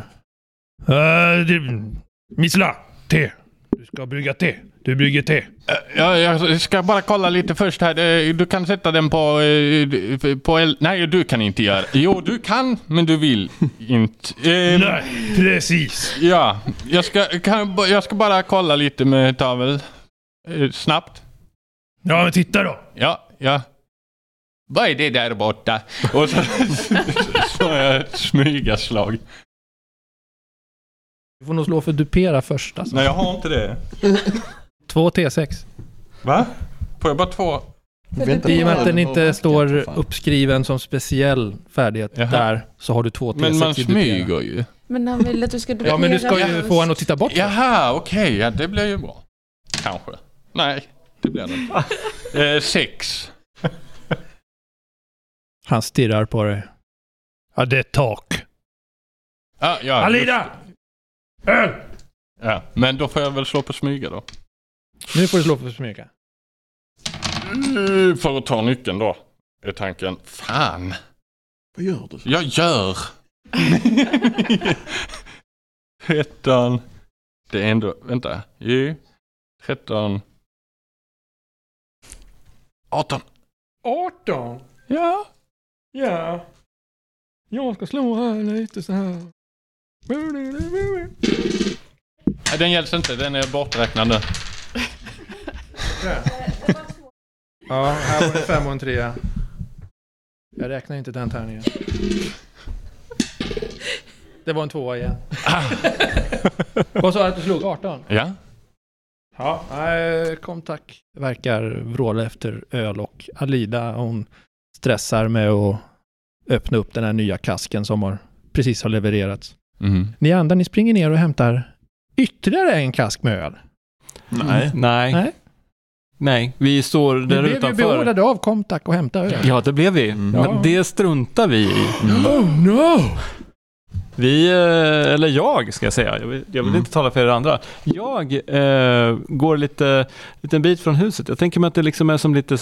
S3: Äh, det- Missla! Te! Du ska brygga te. Du brygger te.
S2: Eh, Ja, jag ska bara kolla lite först här. Eh, Du kan sätta den på... eh, på el- Nej, du kan inte göra. Jo, du kan, men du vill inte. Eh,
S3: Nej, precis.
S2: Ja, jag ska, kan, jag ska bara kolla lite med Tavel. Eh, Snabbt.
S3: Ja, men titta då.
S2: Ja, ja. Vad är det där borta? [laughs] Och så slår jag ett smygaslag.
S3: Du får nog slå för dupera först alltså.
S2: Nej, jag har inte det.
S3: Två T6.
S2: Va? Får jag bara två?
S6: Vänta
S3: I och med
S6: på
S3: att den
S6: den.
S3: inte står
S6: fan.
S3: uppskriven som speciell färdighet
S2: Jaha.
S3: där, så har du två T6
S2: Men man
S3: i dupera.
S2: smyger ju.
S4: Men han vill att du ska
S3: Ja, men du ska ju få han att titta bort.
S2: Jaha, okej. Ja, det blir ju bra. Kanske. Nej, det blir det inte.
S3: [laughs]
S2: Eh, sex.
S3: Han stirrar på dig. Ja, det är tak.
S2: Ah, ja,
S3: Alida! Öl!
S2: Ja, men då får jag väl slå på smyga då.
S3: Nu får du slå för smyga.
S2: Eh, För att ta nyckeln då, är tanken. Fan,
S6: Vad gör du?
S2: jag gör! [laughs] Tretton. Det är ändå, vänta. Jo. Tretton. Arton.
S9: 18?
S2: Ja.
S9: Ja. Jag ska slå här lite så här.
S2: Nej, Den gälls inte, den är borträknad nu.
S3: Ja, här var det fem och en trea. Jag räknar inte den tärningen. Det var en tvåa igen. [laughs] Vad sa du att du slog? 18?
S2: Ja.
S3: Ja. Nej, kom tack. Verkar vråla efter öl och Alida hon stressar med att öppna upp den här nya kasken som har, precis har levererats.
S2: Mm.
S3: Ni andra, ni springer ner och hämtar ytterligare en kask med öl.
S6: Nej.
S5: Mm. Nej.
S3: Nej.
S5: Nej, vi står
S3: Ni
S5: där
S3: blev ju
S5: utanför.
S3: beordrade av Komtak att hämta öl.
S5: Ja, det blev vi.
S6: Mm.
S5: Men det struntar vi i.
S3: Oh no!
S5: Vi, eh, eller jag ska jag säga, jag vill, jag vill
S2: Mm.
S5: inte tala för er andra. Jag eh, går lite, liten bit från huset. Jag tänker mig att det liksom är som lite,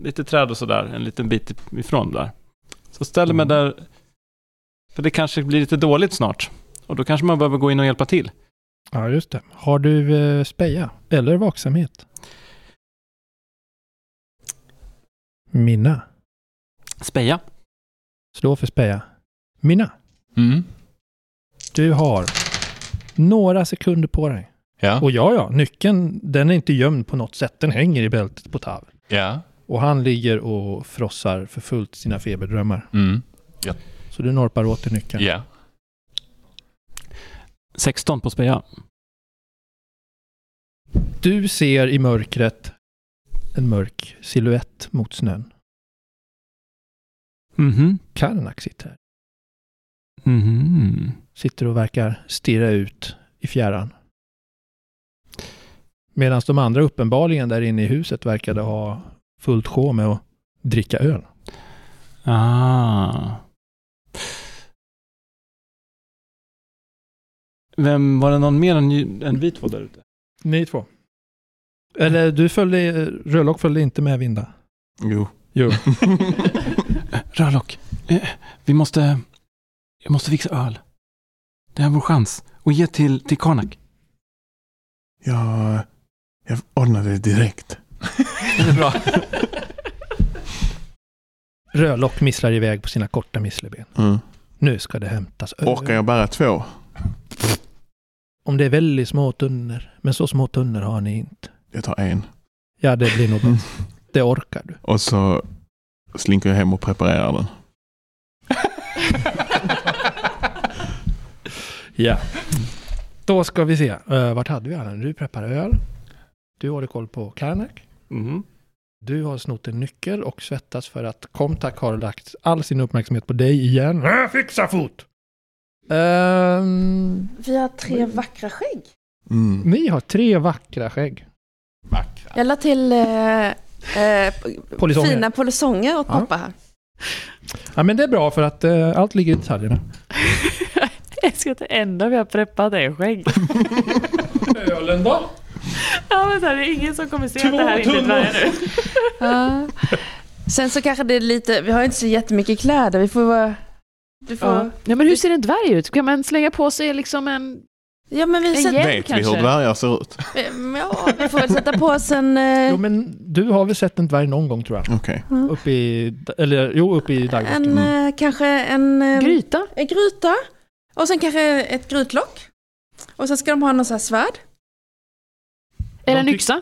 S5: lite träd och sådär, en liten bit ifrån där. Så ställer mig där, för det kanske blir lite dåligt snart. Och då kanske man behöver gå in och hjälpa till.
S3: Ja, just det. Har du eh, speja eller vaksamhet? Minna.
S5: Speja.
S3: Slå för speja. Minna,
S2: Mm.
S3: du har några sekunder på dig.
S2: Ja.
S3: Och ja, ja, nyckeln, den är inte gömd på något sätt. Den hänger i bältet på Tav.
S2: Ja.
S10: Och han ligger och frossar för fullt sina feberdrömmar.
S2: Mm.
S10: Så du norpar åt i
S2: [laughs]
S10: nyckeln.
S2: Ja.
S5: 16 på speja.
S10: Du ser i mörkret en mörk silhuett mot snön.
S5: Mhm.
S10: Karnak sitter här.
S5: Mhm.
S10: Sitter och verkar stirra ut i fjärran. Medan de andra uppenbarligen där inne i huset verkade ha fullt sjå med att dricka öl.
S5: Ah. Vem, var det någon mer än, än vi två där ute?
S10: Ni två. Eller du följde, Rödlock följde inte med Vinda.
S11: Jo.
S10: Jo.
S5: Rörlock, eh, vi måste... Jag måste fixa öl. Det här är vår chans. Och ge till, till Karnak.
S6: Jag, jag ordnade det direkt.
S5: Det är bra.
S10: Rödlock misslar iväg på sina korta misslerben.
S6: Mm.
S10: Nu ska det hämtas öl.
S6: Orkar jag bära två?
S10: Om det är väldigt små tunnor. Men så små tunnor har ni inte.
S6: Jag tar en.
S10: Ja, det blir nog
S6: Mm.
S10: bäst. Det orkar du.
S6: Och så slinker jag hem och preparerar den.
S10: Ja. Då ska vi se. Uh, vart hade vi alla? Du preppar öl. Du håller koll på Karnak.
S5: Mhm.
S10: Du har snott en nyckel och svettas för att Komtak har lagt all sin uppmärksamhet på dig
S3: Mm.
S10: igen. Äh, fixa fot! Ehm,
S4: Vi har tre vackra skägg.
S6: Mm.
S10: ni har tre vackra skägg.
S2: Vackra.
S4: Jag la till eh, eh,
S10: Polisonger.
S4: fina polisonger åt
S10: Ja.
S4: pappa här.
S10: Ja, men det är bra för att eh, allt ligger i detaljerna.
S1: [laughs] Jag ska inte enda vi har preppat är skägg.
S10: Ölen då?
S1: Ja, men så här, det är ingen som kommer se att det här inte är dvärgar nu.
S4: Ja. Sen så kanske det är lite, vi har ju inte så jättemycket kläder, vi får vara... Du får,
S1: Ja.
S4: ja.
S1: Nej, men hur ser en dvärg ut? Kan man slänga på sig liksom en,
S4: men vi,
S1: en
S4: sätter,
S1: hjälm
S6: Vet vi hur
S1: kanske?
S6: dvärgar ser ut?
S4: ja, vi får väl sätta på oss en... eh,
S10: Jo, men du har väl sett en dvärg någon gång tror jag?
S6: Okej.
S10: Uppe i, eller jo, uppe i Dagmark.
S4: en
S6: Mm.
S4: eh, kanske en... eh,
S1: Gryta?
S4: En gryta. Och sen kanske ett grytlock. Och sen ska de ha någon sån här svärd.
S1: Eller en
S10: tyck-
S1: yxa?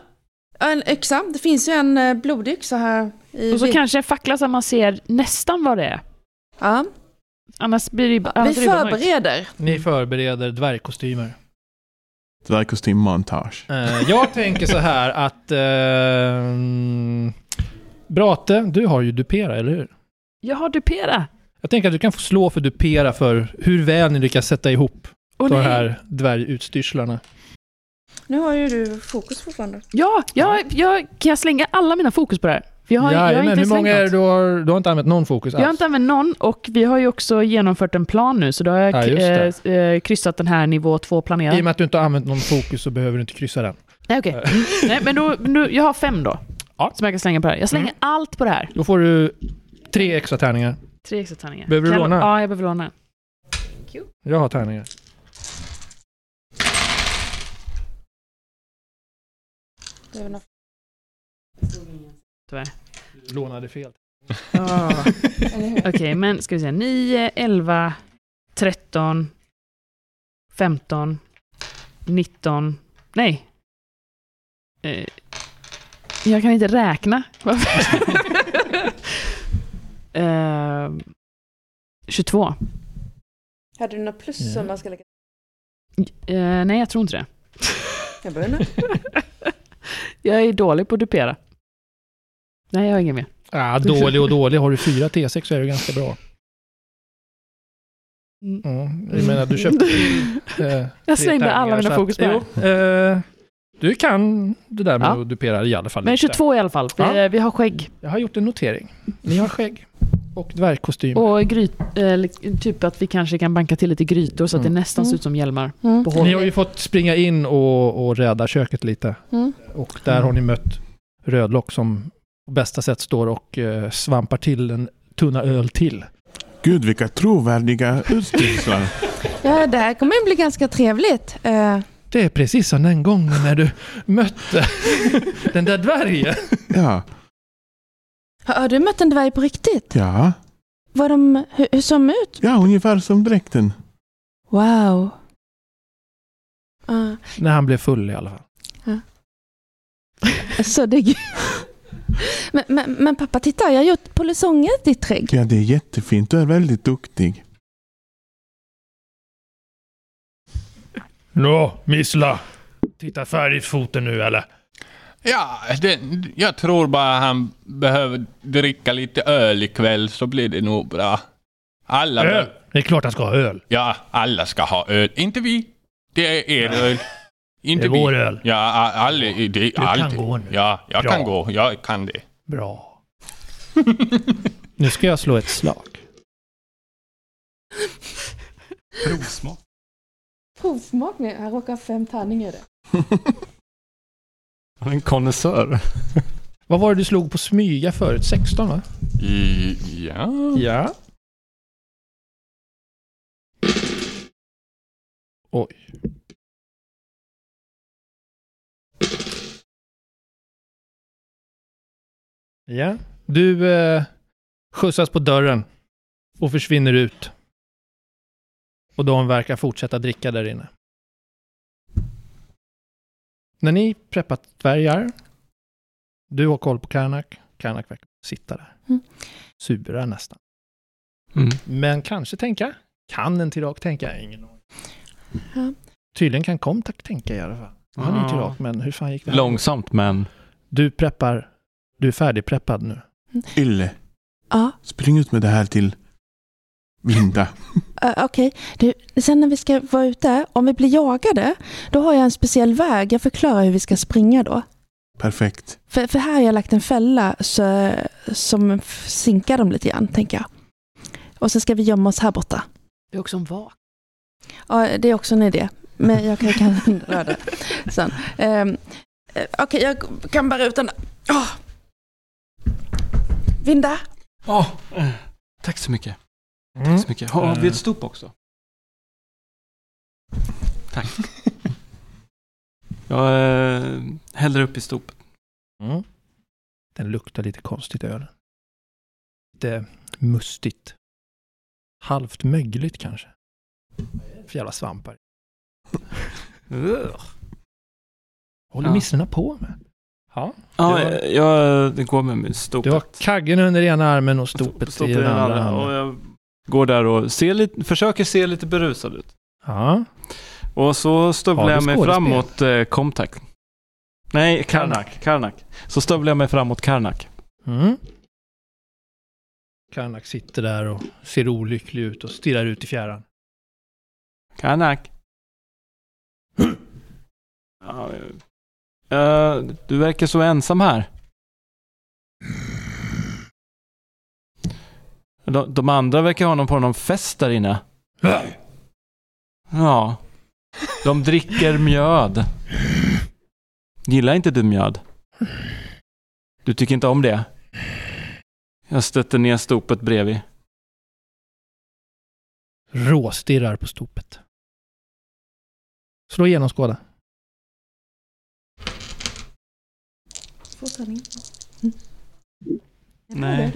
S4: Ja, En yxa. Det finns ju en eh, blodig yxa här. I
S1: Och så
S4: vi-
S1: kanske en fackla så att man ser nästan vad det är.
S4: ja.
S1: Annars blir det annars är
S4: Vi
S1: det bara mörkt.
S4: förbereder.
S10: Ni
S3: [laughs]
S10: förbereder dvärgkostymer.
S6: Dvärgkostymmontage.
S10: Eh, jag tänker så här att... Eh, Brate, du har ju dupera, eller hur?
S1: Jag har dupera.
S10: Jag tänker att du kan få slå för dupera för hur väl ni lyckas sätta ihop
S1: Åh,
S10: de
S1: nej.
S10: här dvärgutstyrslarna.
S4: Nu har ju du fokus fortfarande.
S1: Ja, jag, jag, kan jag slänga alla mina fokus på det här? För jag har, jag har
S10: Jajamän,
S1: inte
S10: hur många är det
S1: slängt
S10: du
S1: något.
S10: har... Du har inte använt någon fokus
S1: Jag har inte använt någon och vi har ju också genomfört en plan nu så då har
S10: Ja,
S1: jag
S10: just
S1: eh, eh, kryssat den här nivå 2 planerad.
S10: I och med att du inte har använt någon fokus så behöver du inte kryssa den.
S1: Nej, okej. Mm. Nej, men då, nu, jag har fem då.
S10: Ja. Mm.
S1: Som jag kan slänga på det här. Jag slänger allt på det här.
S10: Då får du tre extra tärningar.
S1: Tre extra tärningar.
S10: Behöver du
S1: Kan jag-
S10: låna?
S1: Ja, jag behöver låna.
S10: Jag har tärningar.
S4: Det är väl något.
S10: Lånade fel.
S1: Ah. Okej, men ska vi se. 9, 11, 13, 15, 19. Nej. Eh, jag kan inte räkna. [laughs] Varför? eh, 22.
S4: Hade du några plus som man ska lägga?
S1: Eh, nej, jag tror
S10: [laughs]
S1: inte det.
S4: Jag börjar nu.
S1: jag är dålig på att dupera. Nej, jag har inget mer.
S10: Ah, dålig och dålig. Har du fyra T6 så är du ganska bra.
S1: Mm.
S10: Mm. Jag menar, du köpte eh,
S1: [laughs] Jag
S10: tre
S1: slängde
S10: tärningar,
S1: alla mina
S10: så
S1: fokus på det här.
S10: att, jo, eh, Du kan det där med
S1: Ja.
S10: att dupera i alla fall.
S1: Men
S10: lite.
S1: 22 i alla fall. eh, Vi,
S10: Ja.
S1: vi har skägg.
S10: Jag har gjort en notering. Ni har skägg och dvärgkostym.
S1: Och gryt, eh, li- typ att vi kanske kan banka till lite grytor så att
S6: Mm.
S1: det nästan ser ut som hjälmar. På
S10: Mm. Ni
S1: håll.
S10: har ju fått springa in och, och rädda köket lite.
S4: Mm.
S10: Och där har ni mött Rödlock som på bästa sätt står och eh, svampar till en tunna öl till.
S6: Gud, vilka trovärdiga utstyrslar.
S4: Ja, det här kommer ju bli ganska trevligt. Eh,
S10: Det är precis som den gången när du [laughs] mötte den där dvärgen.
S6: ja,
S4: har, har du mött en dvärg på riktigt?
S6: ja.
S4: Var de, hur, hur såg de ut?
S6: Ja, ungefär som dräkten.
S4: Wow. Ah,
S10: När han blev full i alla fall.
S4: så det är Men, men, men pappa, titta, jag har gjort polisonger i ditt skägg.
S6: Ja, det är jättefint. Du är väldigt duktig. [laughs]
S10: Nå, Missla. Titta färdigt foten nu eller?
S2: Ja, det, jag tror bara han behöver dricka lite öl ikväll så blir det nog bra. Alla,
S10: Öl! Det är klart han ska ha öl.
S2: ja, alla ska ha öl. Inte vi. Det är er öl. Inte
S10: Det är
S2: vi.
S10: vår öl.
S2: Ja, a- all, det, du
S10: kan gå nu.
S2: Ja, jag
S10: Bra.
S2: kan gå. Jag kan det.
S10: Bra. Nu ska jag slå ett slag.
S12: Provsmak.
S4: Provsmakning, jag råkar ha fem tärningar i det.
S5: Han är en konnässör.
S10: Vad var det du slog på smyga förut? 16 va? Mm.
S2: I, ja.
S10: Ja. Oj. Ja. Du eh, skjutsas på dörren och försvinner ut. Och de verkar fortsätta dricka där inne. När ni preppat dvärgar, du har koll på Karnak, Karnak verkar sitta där.
S4: Mm.
S10: Sura nästan.
S5: Mm.
S10: Men kanske tänka. Kan en Tirak tänka? Ingen aning.
S4: Ja.
S10: Tydligen kan Komtak tänka i alla fall. Han är ju
S5: Ja.
S10: Tirak, men hur fan gick det? här?
S5: Långsamt men...
S10: Du preppar. Du är färdigpreppad nu.
S6: Ylle,
S4: Ja,
S6: spring ut med det här till Vinda.
S4: eh, okej. Du, Sen när vi ska vara ute, om vi blir jagade, då har jag en speciell väg. Jag förklarar hur vi ska springa då.
S6: Perfekt.
S4: För, för här har jag lagt en fälla så, som f- sinkar dem lite grann, tänker jag. Och sen ska vi gömma oss här borta.
S1: Det är också en vak.
S4: Ja, det är också en idé. Men jag kan [laughs] kanske röra det sen. Ehm, eh, Okej, jag kan bära ut den där. Åh. Vinda!
S5: Ja. eh, Tack så mycket.
S10: Mm.
S5: Tack så mycket. Har vi ett stop också? Tack.
S10: [laughs]
S5: Jag eh, häller upp i stopet.
S10: Mm. Den luktar lite konstigt öl. Lite mustigt. Halvt mögligt kanske. För jävla svampar. Håller
S5: Ja.
S10: missorna på med? Ja.
S5: Ja,
S10: Det var-
S5: jag, jag det går med min stop.
S10: Du har kaggen under ena armen och stopet i den andra
S5: Och
S10: handen.
S5: jag går där och ser lite, försöker se lite berusad ut.
S10: Ja.
S5: Och så
S10: Ja,
S5: stövlar
S10: det
S5: jag mig
S10: skådespel.
S5: fram mot eh, Komtak. Nej, Karnak.
S10: Karnak.
S5: Karnak. Så stövlar jag mig fram mot Karnak.
S10: Mm. Karnak sitter där och ser olycklig ut och stirrar ut i fjärran.
S5: Karnak. [clears throat] Ja, eh, eh, du verkar så ensam här. De, de andra verkar ha någon på någon fest där inne. Ja. De dricker mjöd. Gillar inte du mjöd? Du tycker inte om det? Jag stötte ner stopet bredvid.
S10: Råstirrar på stopet. Slå genomskåda.
S4: Två tärningar. Mm.
S5: Nej.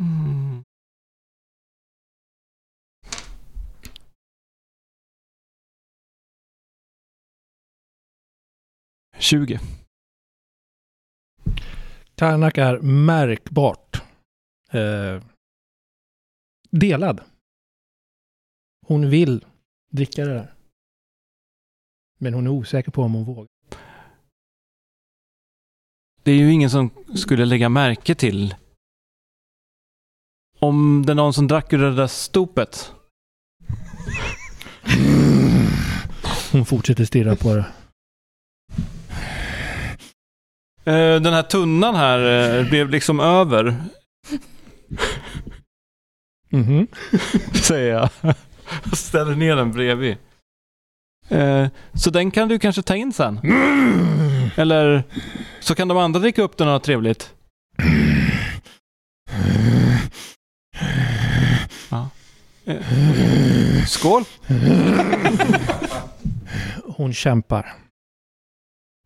S5: Mm. Tjugo.
S10: Karnak är märkbart eh, delad. Hon vill dricka det där. Men hon är osäker på om hon vågar.
S5: Det är ju ingen som skulle lägga märke till. Om det är någon som drack ur det där stopet.
S10: Hon fortsätter stirra på det.
S5: Eh, Den här tunnan här eh, blev liksom över,
S10: Mhm.
S5: säger jag. Och [laughs] ställer ner den bredvid. Eh, Så den kan du kanske ta in sen. Eller så kan de andra dricka upp den och ha trevligt. Ja. Eh, Skål!
S10: Hon kämpar.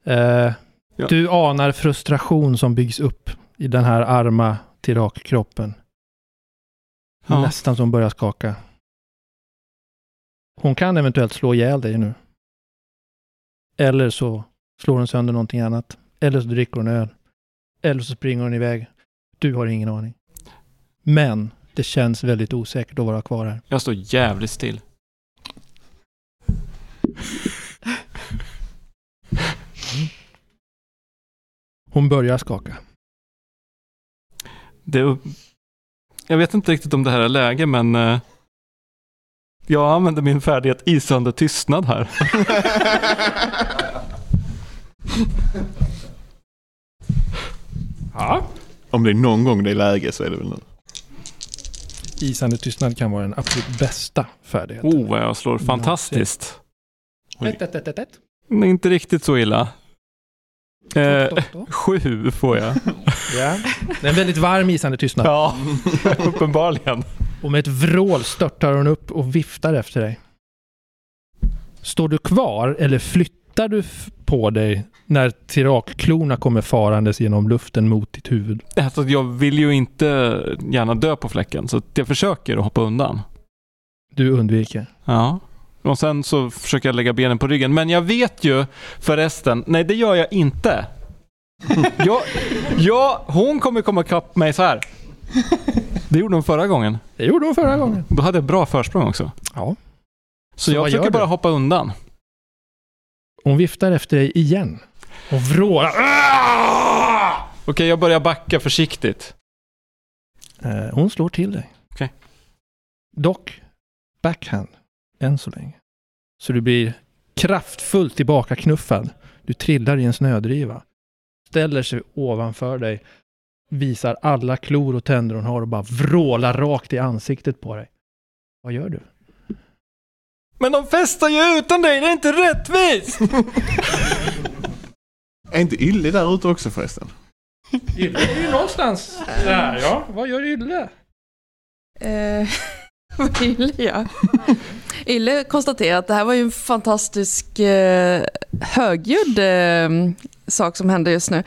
S10: Eh,
S5: Ja.
S10: Du anar frustration som byggs upp i den här arma Tirak-kroppen.
S5: Ja.
S10: Nästan som börjar skaka. Hon kan eventuellt slå ihjäl dig nu. Eller så slår hon sönder någonting annat. Eller så dricker hon öl. Eller så springer hon iväg. Du har ingen aning. Men det känns väldigt osäkert att vara kvar här.
S5: Jag står jävligt still.
S10: Hon börjar skaka.
S5: Det, är upp- jag vet inte riktigt om det här är läge, men eh, jag använder min färdighet isande tystnad här.
S10: Ja.
S6: Om det är någon gång det är läge så är det väl nu.
S10: Isande tystnad kan vara den absolut bästa färdigheten.
S5: Oh, vad jag slår fantastiskt.
S6: Oj.
S10: Ett, ett, ett, ett, ett.
S5: Nej, Inte riktigt så illa. Eh,
S10: Stopp, stopp, stopp.
S5: sju får jag.
S10: [laughs] Ja. Det är en väldigt varm isande tystnad.
S5: Ja, [laughs] uppenbarligen.
S10: Och med ett vrål störtar hon upp och viftar efter dig. Står du kvar eller flyttar du f- på dig när tirakklorna kommer farandes genom luften mot ditt huvud?
S5: Alltså, jag vill ju inte gärna dö på fläcken, så att jag försöker att hoppa undan.
S10: Du undviker.
S5: Ja. Och sen så försöker jag lägga benen på ryggen. Men jag vet ju förresten, nej det gör jag inte. [laughs] Jag, jag, hon kommer komma ikapp mig så här. Det gjorde hon förra gången.
S10: Det gjorde hon förra gången.
S5: Då hade jag bra försprång också.
S10: Ja.
S5: Så,
S10: Så
S5: jag
S10: vad gör
S5: försöker
S10: du?
S5: bara hoppa undan.
S10: Hon viftar efter dig igen. Och vrålar.
S5: Okej, jag börjar backa försiktigt.
S10: Eh, Hon slår till dig.
S5: Okej.
S10: Dock backhand än så länge. Så du blir kraftfullt tillbakaknuffad. Du trillar i en snödriva. Ställer sig ovanför dig. Visar alla klor och tänder hon har och bara vrålar rakt i ansiktet på dig. Vad gör du?
S5: Men de festar ju utan dig, det är inte rättvist! [laughs]
S6: Är inte Ille där ute också förresten?
S10: Ylle är ju någonstans där ja. Vad gör Ylle?
S4: Eh, [laughs] vad Ille gör? Ille konstaterar att det här var ju en fantastisk eh, högljudd eh, sak som hände just nu.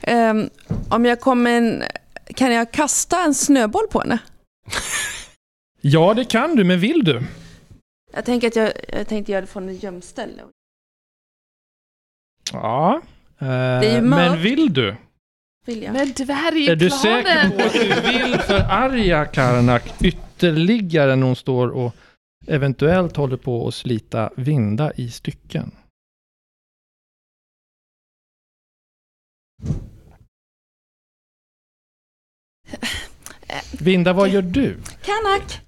S4: Eh, om jag kommer in, kan jag kasta en snöboll på henne?
S10: Ja det kan du, men vill du?
S4: Jag tänker att jag, jag tänkte göra det från en gömställe.
S10: Ja. Eh,
S4: är ju mörkt.
S10: men vill du?
S4: Vill jag?
S1: Men det här
S10: Är
S1: ju
S10: du säker
S1: planen!
S10: på att du vill förarga Karnak ytterligare när hon står och eventuellt håller på att slita Vinda i stycken? Vinda, vad gör du?
S4: Kanak!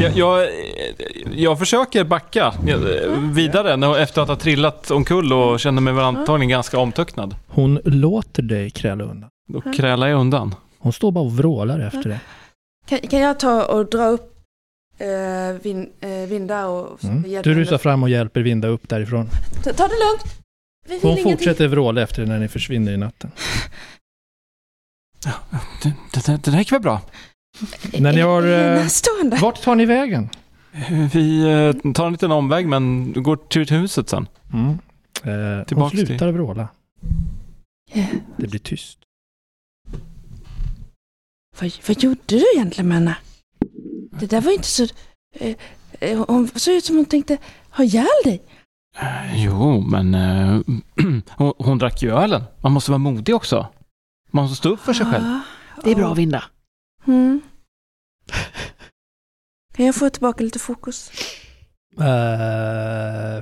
S5: Jag, jag, jag försöker backa vidare när, efter att ha trillat omkull och känner mig väl antagligen ganska omtöcknad.
S10: Hon låter dig kräla undan.
S5: Då krälar jag undan.
S10: Hon står bara och vrålar efter dig.
S4: Kan, kan jag ta och dra upp eh, vin, eh, Vinda och
S10: Mm. Du rusar fram och hjälper Vinda upp därifrån.
S4: Ta, ta det lugnt. Vi vill
S10: Hon
S4: ingenting.
S10: fortsätter vråla efter dig när ni försvinner i natten.
S5: Det, det, där- det där gick väl bra.
S10: När ni har, eh,
S4: Lina, Stå under.
S10: Vart tar ni vägen?
S5: Vi eh, tar en liten omväg men går till huset sen.
S10: Mm. Eh, hon
S5: Tillbaks till-
S10: slutar vråla.
S4: Eh,
S10: Det blir tyst.
S4: Vad, vad gjorde du egentligen med henne? Det där var ju inte så... Eh, eh, hon såg ut som hon tänkte ha ihjäl dig.
S5: Eh, Jo, men eh, [clears throat] hon, hon drack ju ölen. Man måste vara modig också. Man måste stå upp för sig själv.
S4: Ja,
S1: Det är bra
S4: ja.
S1: Vinda.
S4: Mm. Kan jag få tillbaka lite fokus?
S10: Eh,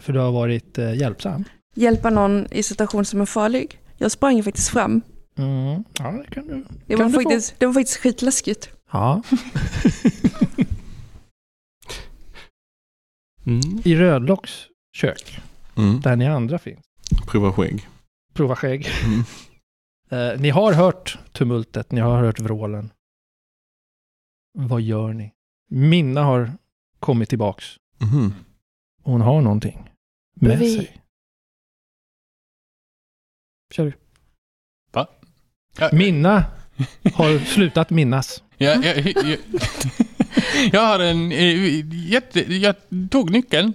S10: för du har varit eh, hjälpsam.
S4: Hjälpa någon i situation som är farlig. Jag sprang ju faktiskt fram.
S10: Mm. Ja, det kan du.
S4: Det
S10: Kan
S4: var,
S10: du få-
S4: faktiskt, det var faktiskt skitläskigt.
S10: Ja.
S5: Mm.
S10: [laughs] I Rödlocks kök,
S6: Mm.
S10: där ni andra finns.
S6: Prova skägg.
S10: Prova skägg.
S6: Mm.
S10: Eh, ni har hört tumultet, ni har hört vrålen. Vad gör ni? Minna har kommit tillbaks.
S6: Mhm.
S10: Hon har någonting med
S1: Bredvid.
S10: sig. Kör du.
S2: Va? Ja.
S10: Minna har slutat minnas.
S2: Jag, jag, jag, [laughs] jag har en eh, jätte... Jag tog nyckeln.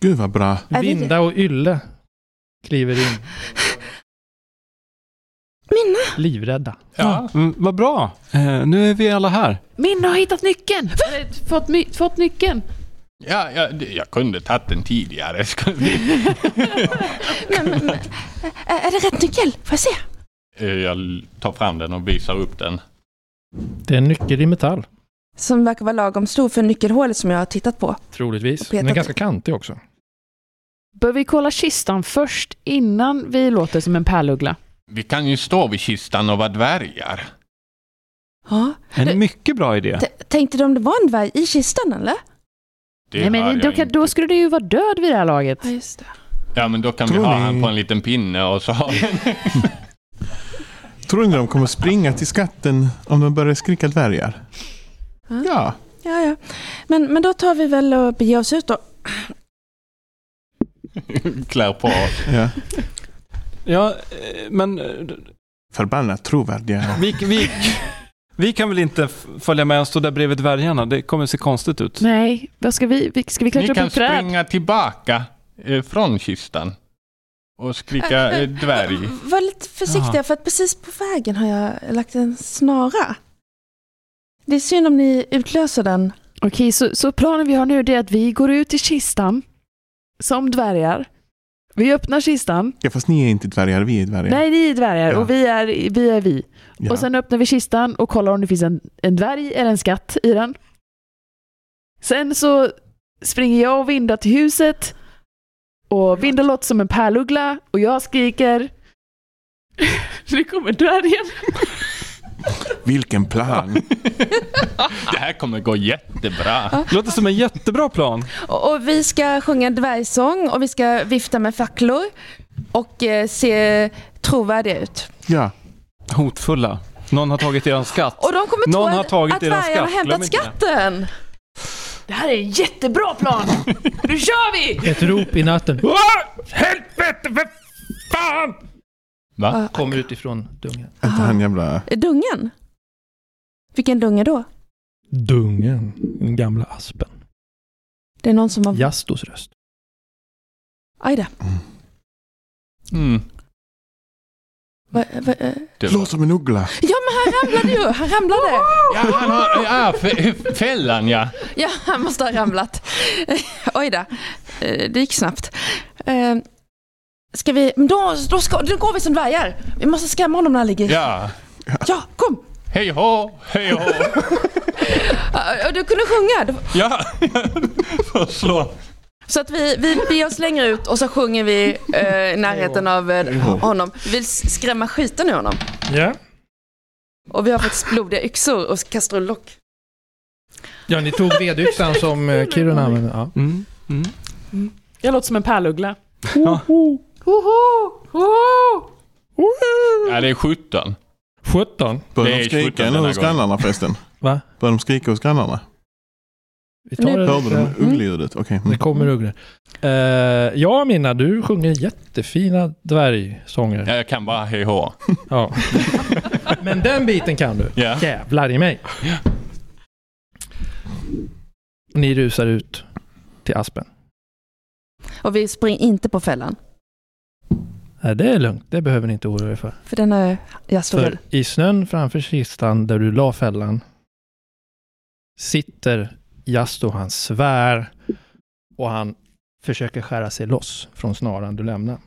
S6: Gud vad bra.
S4: Är vi-
S10: Vinda och Ylle kliver in.
S4: Minna!
S10: Livrädda.
S2: Ja.
S5: Mm, vad bra. Eh, nu är vi alla här.
S1: Minna har hittat nyckeln! Eller, fått, my- fått nyckeln!
S2: Ja, ja, det- jag kunde tagit den tidigare. [laughs] Skulle vi-
S4: Men, men, men, är är det rätt nyckel? Får jag se?
S2: Eh, Jag tar fram den och visar upp den.
S10: Det är en nyckel i metall.
S4: Som verkar vara lagom stor för nyckelhålet som jag har tittat på.
S10: Troligtvis.
S4: Petat.
S10: Den är ganska kantig också.
S1: Bör vi kolla kistan först innan vi låter som en pärluggla?
S2: Vi kan ju stå vid kistan och vara dvärgar.
S4: Ja.
S5: En mycket bra idé.
S4: T- Tänkte du om det var en dvärg i kistan eller?
S2: Det
S1: Nej,
S2: hör
S1: men
S2: jag
S1: då, kan,
S2: inte.
S1: då skulle du ju vara död vid det här laget.
S4: Ja, just det.
S2: Ja, men då kan vi
S6: Tror
S2: ha
S6: ni-
S2: han på en liten pinne och så har vi
S6: Tror ni de kommer springa till skatten om de börjar skrika dvärgar?
S4: Ja.
S6: Ja.
S4: Ja, ja. Men, men då tar vi väl och beger oss ut då.
S2: [laughs] klär på oss.
S6: ja.
S5: Ja, eh, men eh,
S6: Förbannat trovärdiga.
S5: vi, vi, vi kan väl inte f- följa med och stå där bredvid dvärgarna? Det kommer se konstigt ut.
S1: Nej, vad ska vi, vi- ska vi
S2: Ni
S1: klättra upp
S2: kan
S1: ett träd?
S2: springa tillbaka eh, från kistan
S1: [laughs]
S2: och skrika eh, dvärg.
S4: V- Var lite försiktiga
S5: Mm. Ja.
S4: för att precis på vägen har jag lagt en snara. Det är synd om ni utlöser den.
S1: Okej, så, så planen vi har nu det är att vi går ut i kistan som dvärgar. Vi öppnar kistan.
S6: Ja, fast ni är inte dvärgar, vi är dvärgar.
S1: Nej, ni är dvärgar
S6: Ja.
S1: och vi är vi. Är vi.
S6: ja.
S1: Och sen öppnar vi kistan och kollar om det finns en, en dvärg eller en skatt i den. Sen så springer jag och Vinda till huset och Vinda låter som en pärluggla och jag skriker [laughs] Nu kommer dvärgen.
S6: Vilken plan!
S2: Det här kommer gå jättebra.
S5: Låter som en jättebra plan.
S4: Och, och vi ska sjunga en dvärgsång och vi ska vifta med facklor och eh, se trovärdiga ut.
S6: Ja,
S5: Hotfulla. Någon har tagit eran skatt.
S4: Och de kommer
S5: Någon
S4: tro
S5: har
S4: att-
S5: tagit
S4: att
S5: er
S4: dvärgarna har
S5: skatt, glöm
S4: hämtat
S5: inte det.
S4: skatten.
S1: Det här är en jättebra plan! Nu kör vi!
S10: Ett rop i [laughs] natten
S3: Åh, helvete, vad fan!
S2: Va?
S10: kommer utifrån dungen.
S6: inte han jävla...
S4: Ah, Dungen? Vilken dunge då?
S10: Dungen. Den gamla aspen.
S4: Det är någon som har...
S10: Jastos röst.
S4: Aj då.
S2: Mm.
S4: Va, va, eh.
S2: Det var-
S6: Låt som en uggla!
S4: Ja, men han ramlade ju! Han ramlade!
S2: Ja, han har, ja, f- fällan ja.
S4: Ja, han måste ha ramlat. Oj då. Eh, Det gick snabbt. Eh, Ska vi... Men då, då, ska, då går vi som dvärgar. Vi måste skrämma honom när han ligger.
S2: Ja.
S4: ja kom!
S2: Hej hå, hej hå.
S4: Eh, och Du kunde sjunga. Du-
S2: Ja. Får slå.
S4: Så att vi, vi beger oss längre ut och så sjunger vi eh, i närheten av eh, honom. Vi vill s- skrämma skiten ur honom.
S10: Ja.
S4: Och vi har faktiskt blodiga yxor och kastrullock.
S10: Ja, ni tog vedyxan som eh, Kiruna använde. Ja.
S5: Mm. Mm.
S1: Jag låter som en pärluggla.
S5: Ja.
S1: Hoho! Hoho! [laughs]
S2: Ja, det är 17.
S10: 17.
S2: Det är
S6: Börjar de
S2: 17
S6: skrika nu
S2: denna
S6: hos
S2: gången.
S6: grannarna förresten?
S10: Va?
S6: Börjar de skrika hos grannarna?
S10: Vi tar det
S6: Hörde
S10: lite.
S6: de uggleljudet? Okej. mm.
S10: Det kommer ugglor. Eh, ja, Minna, du sjunger jättefina dvärgsånger.
S2: Ja, jag kan bara hej hå.
S10: Ja. [laughs] Men den biten kan du.
S2: Ja.
S10: Jävlar i mig. Ni rusar ut till Aspen.
S4: Och vi springer inte på fällan.
S10: Nej, det är lugnt. Det behöver ni inte oroa er för.
S4: För den är jag står
S10: För i snön framför kistan där du la fällan sitter Jasto, han svär och han försöker skära sig loss från snaran du lämnade.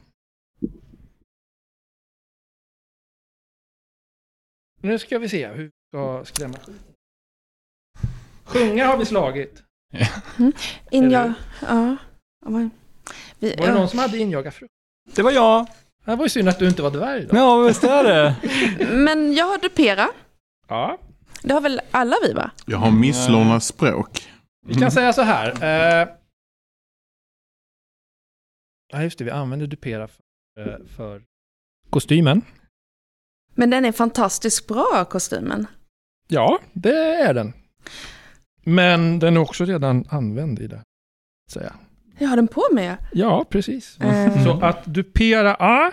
S10: Nu ska vi se hur vi ska skrämma. Sjunga har vi slagit.
S4: In
S10: Eller-
S4: jag... Ja. Ja, men- Vi,
S10: Var det
S4: ja.
S10: någon som hade injagat frukt?
S5: Det var jag.
S10: Det var ju synd att du inte var dvärg då.
S5: Ja, visst är det.
S4: Men jag har dupera.
S10: Ja.
S4: Det har väl alla vi va?
S6: Jag har misslånat språk.
S10: Vi
S6: Mm.
S10: kan säga så här. Eh... Ja, just det. Vi använder Dupera för, eh, för kostymen.
S4: Men den är fantastiskt bra kostymen.
S10: Ja, det är den. Men den är också redan använd i det. så Säga.
S4: Jag har den på mig.
S10: Ja, precis.
S4: Eh,
S10: Så att Dupera A.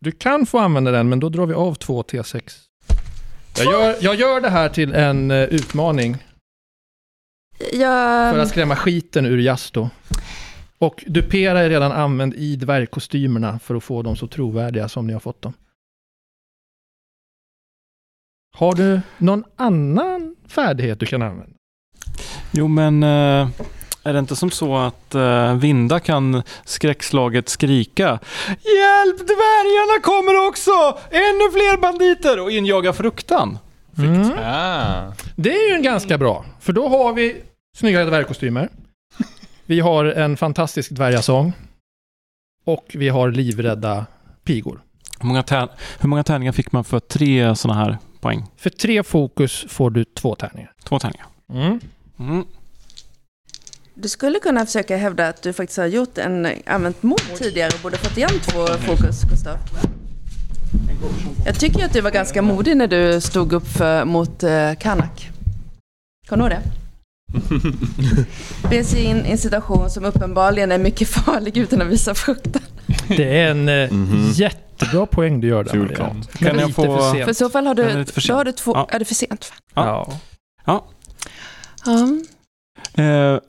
S10: Du kan få använda den, men då drar vi av två T6. Jag gör, jag gör det här till en eh, utmaning
S4: jag...
S10: för att skrämma skiten ur Jasto. Och Dupera är redan använd i dvärgkostymerna för att få dem så trovärdiga som ni har fått dem. Har du någon annan färdighet du kan använda?
S5: Jo, men eh, är det inte som så att eh, Vinda kan skräckslaget skrika Hjälp! Dvärgarna kommer också! Ännu fler banditer! Och injaga fruktan.
S10: Mm.
S2: Ah.
S10: Det är ju en ganska bra, för då har vi snygga dvärgkostymer. Vi har en fantastisk dvärgasång. Och vi har livrädda pigor.
S5: Hur många, tär- hur många tärningar fick man för tre sådana här poäng?
S10: För tre fokus får du två tärningar.
S5: Två tärningar. Mm.
S4: Du skulle kunna försöka hävda att du faktiskt har gjort en, använt mod tidigare och borde fått igen två fokus, Gustav. Jag tycker ju att du var ganska modig när du stod upp för, mot eh, Kanak. Kommer du
S5: [laughs]
S4: ihåg det? Be sig in i en situation som uppenbarligen är mycket farlig utan att visa fruktan.
S10: Det är en eh,
S2: Mhm.
S10: jättbra poäng du gör där.
S2: Kul
S10: Maria.
S2: plan.
S10: Men
S5: Kan jag
S10: lite
S5: få-
S10: för sent.
S4: För i så fall har
S5: Men är
S4: du,
S5: det för
S4: då har
S5: sent?
S4: du två...
S5: Ja.
S4: Är det för sent? Fan.
S10: Ja.
S4: Ja.
S5: Eh,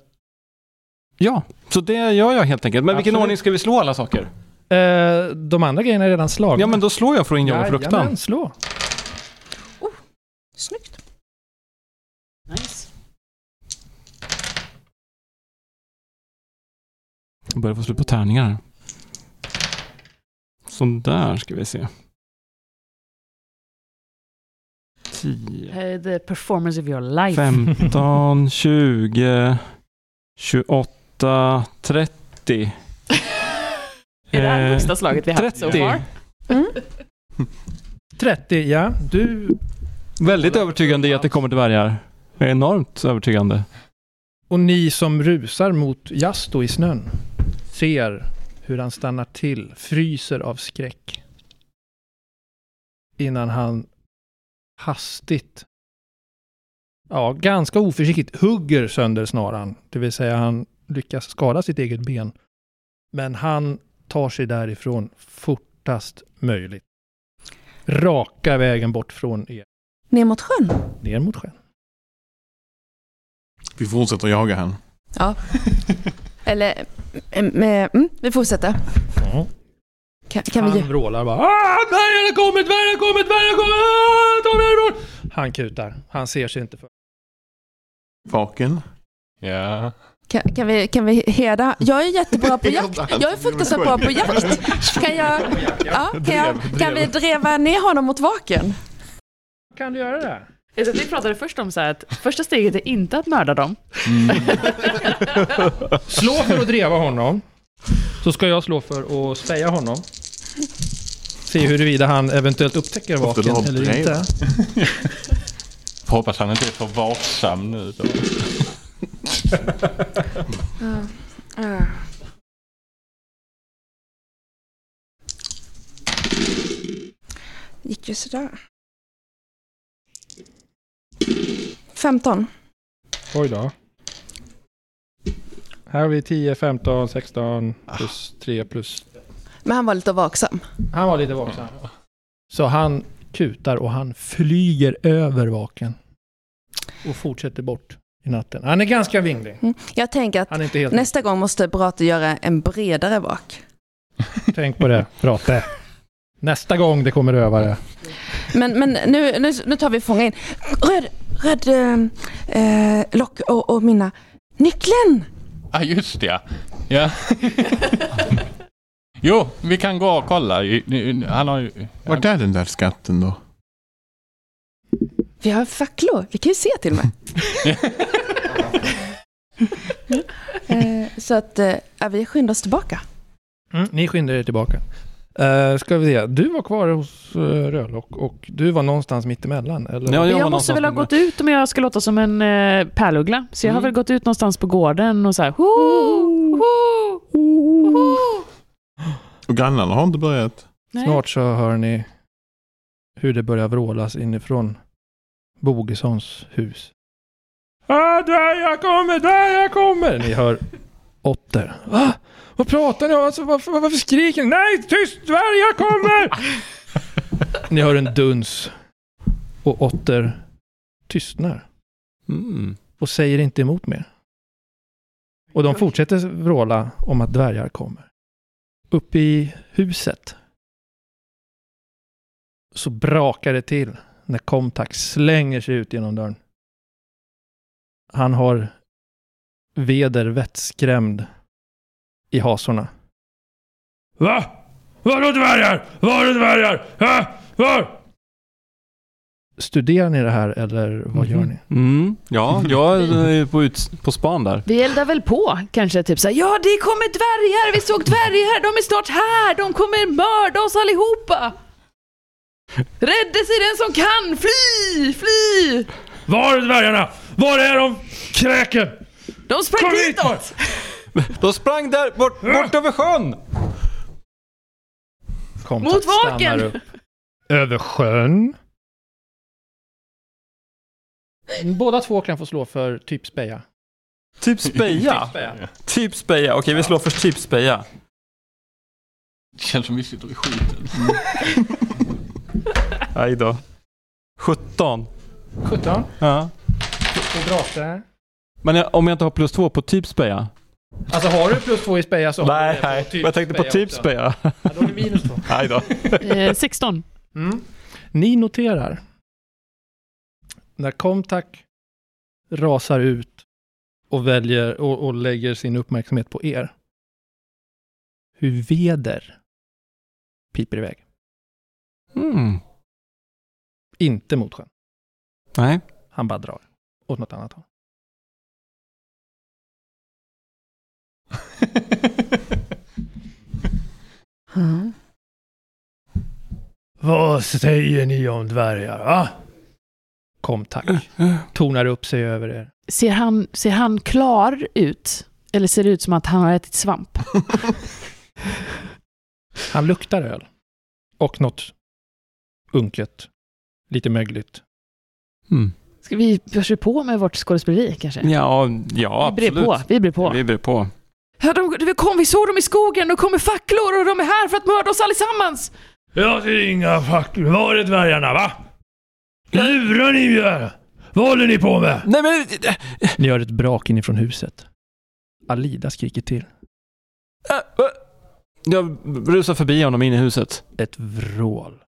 S5: ja, så det gör jag helt enkelt. Men vilken
S10: Absolut.
S5: ordning ska vi slå alla saker?
S10: Eh, de andra grejerna är redan slagna.
S5: Ja, men då slår jag för att injaga fruktan.
S10: Jajamän, slå.
S4: Oh, Snyggt.
S1: Nice.
S5: Jag börjar få slut på tärningar här. Sådär ska vi se. Tio.
S1: Eh, The performance of your life. [laughs]
S5: 15, 20, 28, 30.
S1: Är det här
S5: Eh,
S1: högsta slaget vi har haft so
S5: 30.
S1: far?
S4: Mm.
S10: 30, ja. Du...
S5: Väldigt övertygande i att det kommer dvärgar. Det är Enormt övertygande.
S10: Och ni som rusar mot Jasto i snön ser hur han stannar till, fryser av skräck. Innan han hastigt, ja, ganska oförsiktigt hugger sönder snaran. Det vill säga han lyckas skada sitt eget ben. Men han tar sig därifrån fortast möjligt. Raka vägen bort från er,
S13: Ner mot sjön.
S10: ner mot sjön.
S6: Vi fortsätter jaga han.
S4: Eller, mm, mm, mm, vi fortsätter. Kan, kan
S10: han
S4: vi...
S10: vrålar bara "Ah, dvärgarna kommer, dvärgarna kommer, dvärgarna kommer! Ah, ta mig härifrån!" Han kutar. Han ser sig inte för.
S6: Vaken.
S2: Ja.
S4: Kan, kan, vi, kan vi heda? Jag är jättebra [laughs] på jakt. Jag är fruktansvärt bra på jakt. Kan, [laughs] jag, ja, kan, jag, kan vi dreva ner honom mot vaken?
S10: Kan du göra det?
S1: Eh, så Vi pratade först om så här att första steget är inte att mörda dem.
S10: Slå för att dreva honom. Så ska jag slå för att speja honom. Se huruvida han eventuellt upptäcker
S6: Ofta
S10: vaken
S6: du har
S10: eller
S6: brev.
S10: inte.
S2: Får hoppas han inte är för vaksam nu då.
S4: Gick ju sådär. 15.
S10: Oj då. Här har vi 10, 15, 16 plus 3 plus...
S4: Men han var lite vaksam.
S10: Han var lite vaksam. Så han kutar och han flyger över vaken. Och fortsätter bort i natten. Han är ganska vinglig.
S4: Mm. Jag tänker att
S10: Han är inte helt...
S4: nästa gång måste Brate göra en bredare vak.
S10: Tänk på det, Brate. Nästa gång det kommer rövare.
S4: Men, men nu, nu, nu tar vi fånga in. Röd, röd eh, eh, lock och, och mina nyckeln!
S2: Ah, just det, ja.
S5: [laughs]
S2: ja. Jo, vi kan gå och kolla. I- i- Han har ju...
S6: Vart är den där skatten då?
S4: Vi har facklor, vi kan ju se till och
S14: [laughs]
S4: med. Eh, Så att eh, ja, vi skyndar oss tillbaka.
S10: Mm, ni skyndar er tillbaka. Uh, ska vi se, du var kvar hos uh, Rödlock och du var någonstans mittemellan,
S5: Ja,
S10: eller?
S1: Jag,
S5: var
S1: måste
S5: någonstans
S1: väl ha
S5: med-
S1: gått ut om jag ska låta som en eh, pärluggla. Så jag har
S5: Mm.
S1: väl gått ut någonstans på gården och så här... Ho, ho, ho, ho.
S6: Och grannarna har inte börjat.
S1: Nej.
S10: Snart så hör ni hur det börjar vrålas inifrån Bogessons hus. Ah, dvärgar kommer, dvärgar kommer! Ni hör Otter. Va? Vad pratar ni om? Alltså, varför, varför skriker ni? Nej, tyst! Dvärgar [laughs] kommer! ni hör en duns. Och Otter tystnar
S5: Mm.
S10: och säger inte emot mer. Och de fortsätter vråla om att dvärgar kommer. Uppe i huset så brakar det till när Comtac slänger sig ut genom dörren. Han har Veder vettskrämd i hasorna.
S3: Va? Vadå dvärgar? Vadå dvärgar? Ha? Var?
S10: Studerar ni det här eller vad
S3: Mhm.
S10: gör ni?
S5: Mm, [laughs] ja, jag är på, ut, på span där.
S1: Vi eldar väl på kanske, typ såhär, ja det kommer dvärgar, vi såg dvärgar, de är snart här, de kommer mörda oss allihopa! Rädde sig den som kan, fly, fly!
S3: Var är dvärgarna? Var är de? Kräken!
S1: De sprang
S3: Kom hit,
S1: ditåt!
S5: De sprang där bort, bort över sjön!
S10: Comtac
S1: Mot vaken!
S10: stannar upp. Över sjön. Båda två kan få slå för typ speja.
S5: Typ speja. [laughs] Typ speja. Okej, vi slår först typ speja.
S2: Det känns som vi sitter i skiten.
S5: Aj då. 17.
S10: 17.
S5: Ja.
S10: På drake.
S5: Men jag, om jag inte har plus två på typ speja?
S10: Alltså har du plus två i speja så har du
S5: Nej,
S10: det på
S5: nej.
S10: typ
S5: Jag tänkte på typ
S10: också.
S5: speja. [laughs]
S10: Ja, då är det minus två.
S5: Aj då.
S1: [laughs] Eh, 16.
S10: Mm. Ni noterar när Comtac rasar ut och väljer och, och lägger sin uppmärksamhet på er. Hur veder piper iväg.
S5: Mm.
S10: Inte mot sjön.
S5: Nej.
S10: Han bara drar åt något annat håll. Vad säger ni om dvärgar, va? Comtac tornar upp sig över er.
S1: Ser han, ser han klar ut? Eller ser det ut som att han har ätit svamp?
S10: Han luktar öl. Och något unket. Lite mögligt.
S5: Mm.
S1: Ska vi köra på med vårt skådespeleri kanske?
S5: Ja, ja
S1: vi brer på,
S5: absolut.
S1: vi brer på.
S5: Vi brer på.
S1: Ja, de, de kom, vi såg dem i skogen, de kommer facklor och de är här för att mörda oss allesammans!
S3: Jag ser inga facklor. Var är dvärgarna va? Lurar ni mig här? Vad håller ni på med?
S5: Nej men... äh,
S10: [laughs] Ni hör ett brak inifrån huset. Alida skriker till.
S5: äh, äh. Jag rusar förbi honom in i huset.
S10: Ett vrål.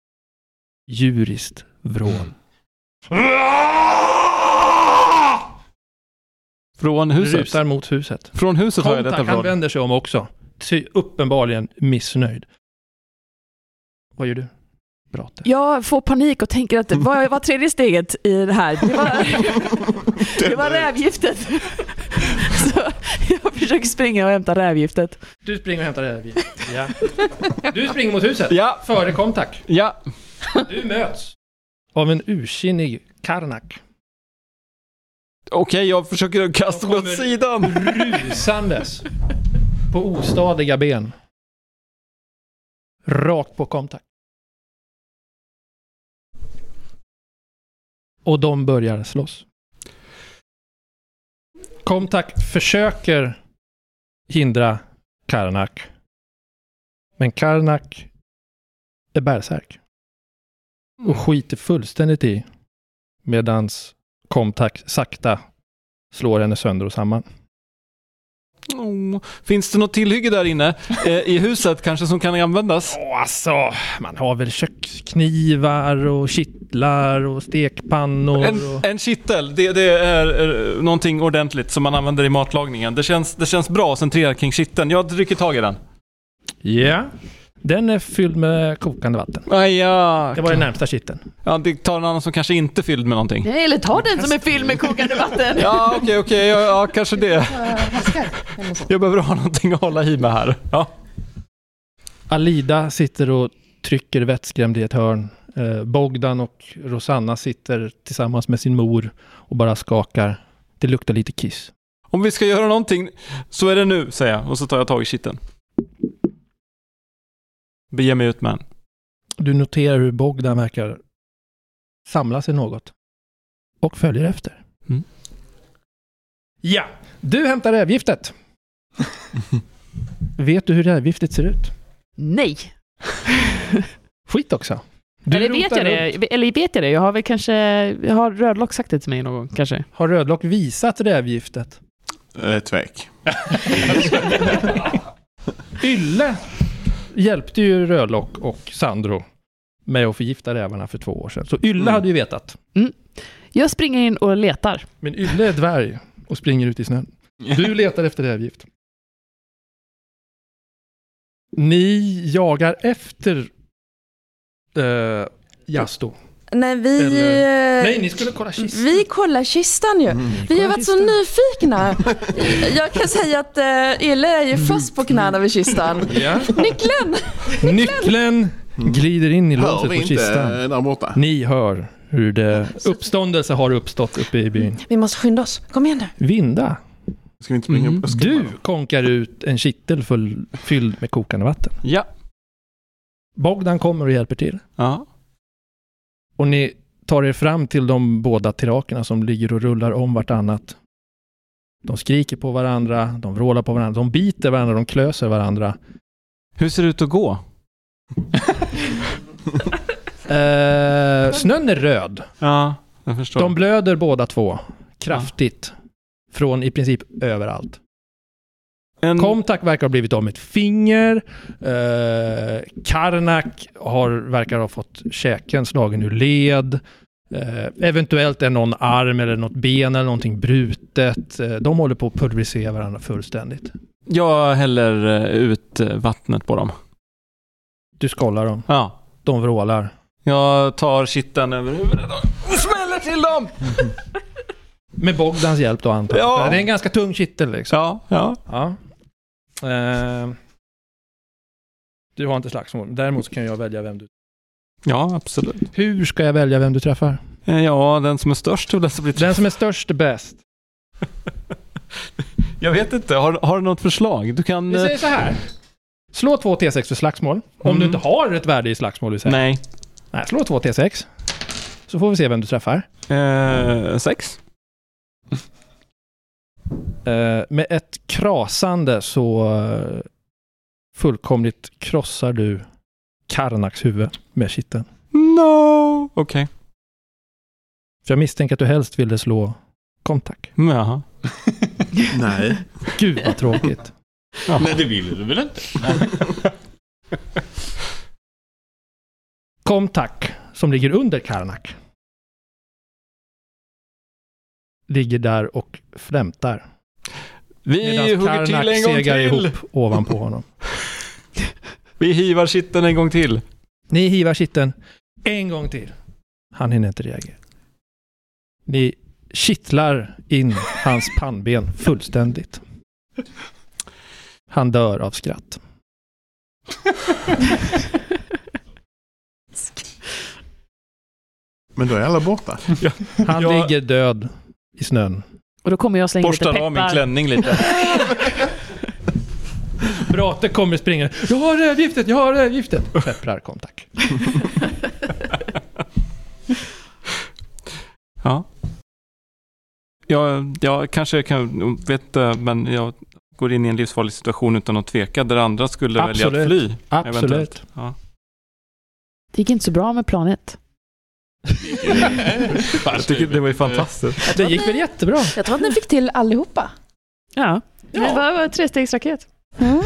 S10: Djuriskt
S5: Mm.
S10: vrål.
S3: Ah!
S5: Från
S10: Rusar
S5: huset.
S10: mot huset.
S5: Från huset har jag detta
S10: Kontak, han
S5: från.
S10: vänder sig om också. Ty, uppenbarligen missnöjd. Vad gör du? Brate.
S1: Jag får panik och tänker att vad var tredje steget i det här? Det var,
S5: [laughs]
S1: det var rävgiftet. Så jag försöker springa och hämta rävgiftet.
S10: Du springer och hämtar det här
S5: [laughs]
S10: vinet. ja. [laughs] Du springer mot huset.
S5: Ja,
S10: Före Comtac.
S5: ja.
S10: Du möts. Av en ursinnig Karnak.
S5: Okej, jag försöker kasta mig åt
S10: kommer-
S5: sidan.
S10: Rusandes. På ostadiga ben. Rakt på Comtac. Och de börjar slåss. Comtac försöker hindra Karnak. Men Karnak är bärsärk. Och skiter fullständigt i. Medans Comtac sakta slår henne sönder och samman.
S5: Åh, Oh. Finns det något tillhygge där inne eh, i huset kanske som kan användas?
S10: Åh, alltså, man har väl köksknivar och kittlar och stekpannor
S5: En,
S10: och...
S5: en kittel, det, det är eh, någonting ordentligt som man använder i matlagningen. Det känns, det känns bra att centrera kring kitteln. Jag rycker tag i den.
S10: Ja. Den är fylld med kokande vatten.
S5: Aj, ja.
S10: Det var den närmsta kitteln.
S5: ja, det tar en annan som kanske inte är fylld med någonting.
S1: Nej, eller ta den som är fylld med kokande vatten.
S5: Ja, okej, okej, ja, ja, kanske det. Jag behöver ha någonting att hålla i med här. Ja.
S10: Alida sitter och trycker vettskrämd i ett hörn. Eh, Bogdan och Rosanna sitter tillsammans med sin mor och bara skakar. Det luktar lite kiss.
S5: Om vi ska göra någonting så är det nu, säger jag. Och så tar jag tag i kitteln. Beger mig ut med den.
S10: Du noterar hur Bogdan verkar samla sig något. Och följer efter.
S5: Mm.
S10: Ja, du hämtar rävgiftet. Vet du hur rävgiftet ser ut?
S1: Nej,
S10: Skit också. Du
S1: eller vet,
S10: rotar
S1: jag det?
S10: runt.
S1: eller vet jag det? Jag har väl kanske, jag har Rödlock sagt det till mig någon gång kanske.
S10: Har Rödlock visat rävgiftet?
S6: Eh, tvek.
S10: Ylle hjälpte ju Rödlock och Sandro med att förgifta rävarna för två år sedan. Så Ylle hade ju vetat.
S1: Jag springer in och
S10: [laughs]
S1: letar.
S10: Men Ylle är dvärg och springer ut i snön. Du letar efter rävgift. Ni jagar efter eh, Jasto.
S14: Nej, vi...
S10: Eller- Nej, ni skulle kolla kistan. Mm.
S14: Vi kollar kistan ju. Vi har varit så nyfikna. Jag kan säga att
S4: eh,
S14: uh, Ille är ju fast på knäna vid kistan.
S10: Mm. Ja.
S14: Nyckeln!
S10: Nyckeln glider in Mm. i
S6: Hör
S10: låset
S6: vi
S10: på
S6: inte eh,
S10: kistan.
S6: där borta?
S10: Ni hör hur det uppståndelse har uppstått uppe i byn.
S14: Vi måste skynda oss. Kom igen nu.
S10: Vinda,
S6: Ska vi inte springa
S5: Mm.
S6: upp? Jag ska
S10: du
S6: bara-
S10: konkar ut en kittel full, fylld med kokande vatten.
S5: Ja.
S10: Bogdan kommer och hjälper till.
S5: ja.
S10: Och ni tar er fram till de båda tirakerna som ligger och rullar om vartannat. De skriker på varandra, de vrålar på varandra, de biter varandra, de klöser varandra.
S5: Hur ser det ut att gå?
S10: Eh, snön är röd.
S5: Ja, jag förstår.
S10: De blöder båda två. Kraftigt. Från i princip överallt.
S5: en,
S10: Komtak verkar ha blivit av med ett finger. Eh, Karnak har, verkar ha fått käken slagen ur led. Eh, eventuellt är någon arm eller något ben eller någonting brutet. Eh, de håller på att pulverisera varandra fullständigt.
S5: Jag häller eh, ut eh, vattnet på dem.
S10: Du skollar dem.
S5: Ja.
S10: De vrålar.
S5: Jag tar kittan över huvudet och smäller till dem!
S10: Med Bogdans hjälp då antar jag.
S5: Ja.
S10: Det är en ganska tung kittel liksom.
S5: Ja, ja.
S10: Ja. Eh, du har inte slagsmål. Däremot så kan jag välja vem du...
S5: Ja, absolut.
S10: Hur ska jag välja vem du träffar?
S5: Eh, Ja, den som är störst och den som blir
S10: Den som är störst är bäst.
S5: [laughs] Jag vet inte, har, har du något förslag? Du kan...
S10: Vi
S5: eh,
S10: säger så här. Slå två T6 för slagsmål. Om
S5: Mm.
S10: du inte har ett värde i slagsmål, vi säger.
S5: Nej.
S10: Nej, slå två T6. Så får vi se vem du träffar.
S5: Eh, sex?
S10: Eh, med ett krasande så eh, fullkomligt krossar du Karnaks huvud med kitteln.
S5: No! Okej.
S10: För jag misstänker att du helst ville slå Komtak.
S5: Mm, Jaha.
S6: Nej.
S10: Gud
S5: [laughs]
S10: vad tråkigt.
S2: Nej, det vill du väl inte?
S10: Komtak, som ligger under Karnak, ligger där och flämtar.
S5: Vi
S10: Medan
S5: hugger till
S10: Karnak
S5: en gång
S10: segar
S5: till!
S10: ihop ovanpå honom.
S5: Vi hivar kitteln en gång till.
S10: Ni hivar kitteln en gång till. Han hinner inte reagera. Ni kittlar in hans pannben fullständigt. Han dör av skratt.
S6: Men då är alla borta.
S10: Han
S5: Jag-
S10: ligger död i snön.
S1: Och då kommer jag slänga lite
S5: Borstar
S1: peppar.
S5: av min klänning lite.
S10: Brate kommer springa. Jag har rödgiftet, jag har rödgiftet. Pepprar kontak.
S5: ja. Jag, jag kanske kan, vet inte, men jag går in i en livsfarlig situation utan att tveka, där andra skulle välja
S10: Absolut.
S5: att fly.
S10: Absolut.
S5: Eventuellt. Ja.
S1: Det gick inte så bra med planet.
S5: Jag tycker det var ju fantastiskt.
S10: Det gick väl jättebra?
S14: Jag tror att ni fick till allihopa.
S1: Ja. Det var, var trestegsraket.
S14: Mm.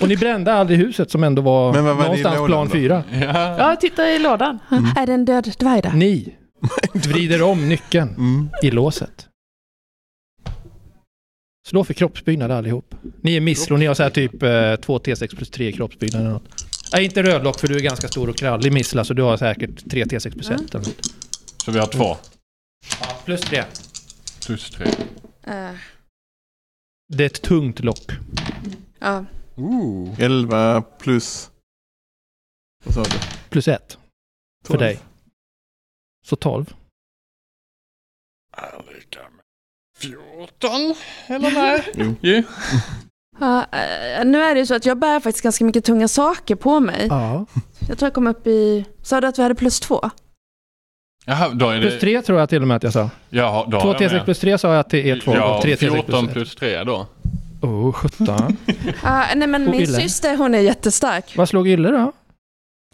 S10: Och ni brände aldrig huset som ändå var,
S6: Men vad var det i
S10: någonstans
S6: lådan
S10: plan
S6: då?
S10: fyra.
S2: Ja.
S1: Ja, titta i lådan.
S6: Mm.
S14: Är det en död dvärg där?
S10: Ni [laughs] vrider om nyckeln
S6: Mm.
S10: i låset. Slå för kroppsbyggnad allihop. Ni är miss och ni har så här typ eh, 2 T6 plus 3 i kroppsbyggnad eller något. Nej, inte rödlock för du är ganska stor och krallig missla så du har säkert 3 T6 plus 1 eller något.
S2: Så vi har två.
S10: Plus 3.
S2: Plus tre.
S14: Eh,
S10: Det är ett tungt lock.
S14: ja.
S2: Ooh.
S6: 11 plus... Vad sa du?
S10: Plus 1 för
S6: Tolv.
S10: dig. Så 12.
S2: 14? Eller nej?
S6: Jo.
S2: Jo.
S14: Ja, eh, nu är det ju så att jag bär faktiskt ganska mycket tunga saker på mig.
S10: Ja.
S14: Jag tror jag kom upp i... Sa du att vi hade plus
S6: [laughs]
S14: två?
S2: Jaha, då är
S10: Plus
S2: det...
S10: 3 tror jag till och med att jag sa.
S2: Jaha, då
S10: 2
S2: har jag
S10: T6 plus 3 sa jag att det är 2
S2: Ja,
S10: och 3 T6
S2: 14
S10: plus 1.
S2: plus 3 då.
S10: Åh, oh, 17.
S14: Ja, nej men
S10: Och
S14: min
S10: Ille.
S14: syster hon är jättestark.
S10: [laughs] Vad slog Ylle då?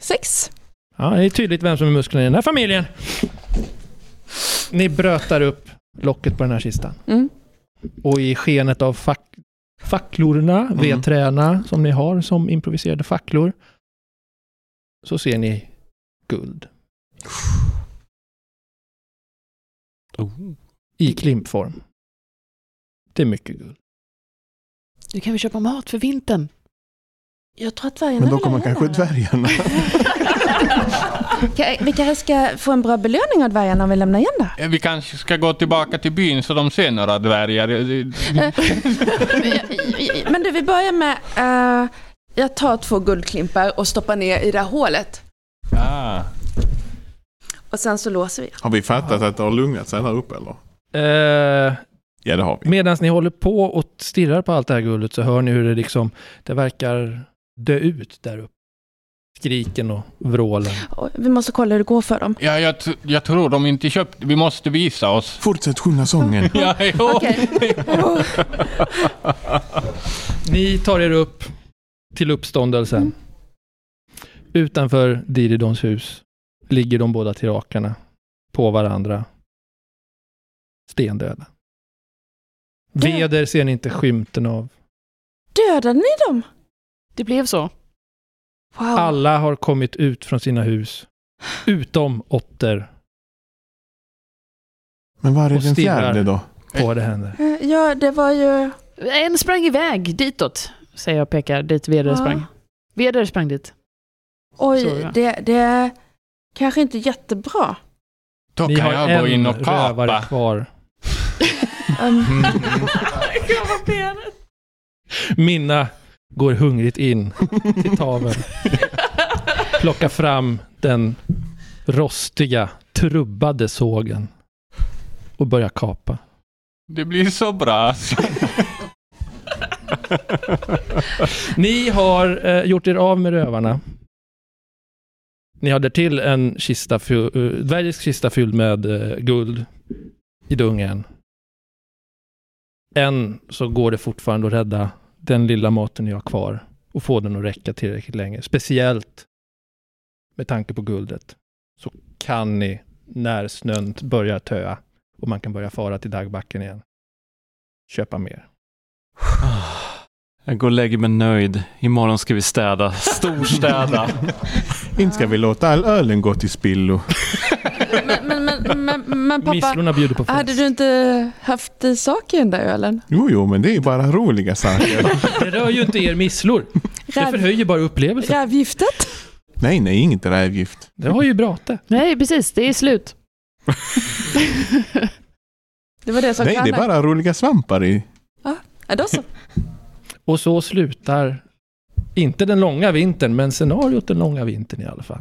S14: Sex.
S10: Ja, det är tydligt vem som är muskeln i den här familjen. Ni brötar upp locket på den här kistan.
S14: Mm.
S10: Och i skenet av fack, facklorna, vedträna som ni har som improviserade facklor, så ser ni guld.
S5: Oh.
S10: I klimpform. Det är mycket guld.
S1: Nu kan vi köpa mat för vintern.
S4: Jag tror att vargarna
S6: Men då
S4: vill
S6: kommer
S4: ha
S6: kanske
S14: [laughs]
S4: det här.
S6: dvärgarna.
S4: Ka- Vi kanske ska få en bra belöning av dvärgarna om vi lämnar [laughs] igen det.
S2: Eh, Vi kanske ska gå tillbaka till byn så de ser några dvärgar. Eh, det-
S14: [laughs] Men du, vi börjar med... eh, jag tar två guldklimpar och stoppar ner i det här hålet.
S2: Ah.
S14: Och sen så låser vi.
S6: [laughs] Har vi fattat att det har lugnat sig där uppe eller?
S10: Eh,
S6: Ja det har vi.
S10: Medan ni håller på och stirrar på allt det här guldet så hör ni hur det liksom, det verkar dö ut där uppe. Skriken och vrålen.
S4: Och Vi måste kolla hur det går för dem.
S2: Ja, jag, tr- jag tror de inte köpt. Vi måste
S14: [laughs]
S2: visa oss.
S6: Fortsätt sjunga sången.
S2: [laughs] Ja, jo.
S14: Okej.
S10: Ni tar er upp till uppståndelsen.
S4: Mm.
S10: Utanför Diridons hus ligger de båda tirakarna på varandra. Stendöda. Veder ser ni inte skymten av.
S4: Dödade ni dem?
S1: Det blev så.
S4: Wow.
S10: Alla har kommit ut från sina hus. Utom Otter.
S6: Men var är
S10: Och
S6: den
S10: stirrar.
S6: fjärde då?
S10: På vad det händer.
S4: Eh, Ja, det var ju...
S1: En sprang iväg ditåt, säger jag och pekar dit Veder
S4: Ja.
S1: sprang. Veder sprang
S5: [laughs]
S1: dit. Så,
S4: Oj,
S1: ja.
S4: det, det är kanske inte jättebra.
S2: Då
S10: Ni
S2: kan
S10: har
S2: jag gå in
S10: en
S2: och
S10: rövare
S2: kapa.
S10: kvar.
S4: Um,
S10: Minna går hungrigt in
S2: [laughs]
S10: till taveln. Plockar fram den rostiga, trubbade sågen. Och börjar kapa.
S2: [laughs] Det blir
S14: [laughs]
S2: så bra.
S10: [laughs] Ni har eh, gjort er av med rövarna. Ni har därtill en kista, fy- eh, dvärgisk kista fylld med eh, guld i dungen. Än så går det fortfarande att rädda den lilla maten ni har kvar och få den att räcka tillräckligt länge. Speciellt med tanke på guldet så kan ni när snön börjar töa och man kan börja fara till dagbacken igen köpa mer.
S5: Jag går och lägger mig nöjd. Imorgon ska vi städa. Storstäda.
S6: Inte ska vi låta all ölen gå till spillo.
S14: Men, men, men, men, men pappa,
S10: Misslorna bjuder på fest.
S14: hade du inte haft i sak i den där ölen?
S6: Jo, jo, men det är ju bara roliga saker.
S10: [laughs] Det rör ju inte er misslor. Det
S14: Räv,
S10: förhöjer bara upplevelsen.
S14: rävgiftet?
S6: nej, nej, inget rävgift.
S10: Det har ju Brate.
S1: Nej, precis. Det är
S5: [laughs]
S1: slut.
S14: Det var det som
S6: Nej, det är
S14: Kanak-
S6: bara roliga svampar i.
S14: Ja, då så.
S10: Och så slutar, inte den långa vintern, men scenariot den långa vintern i alla fall.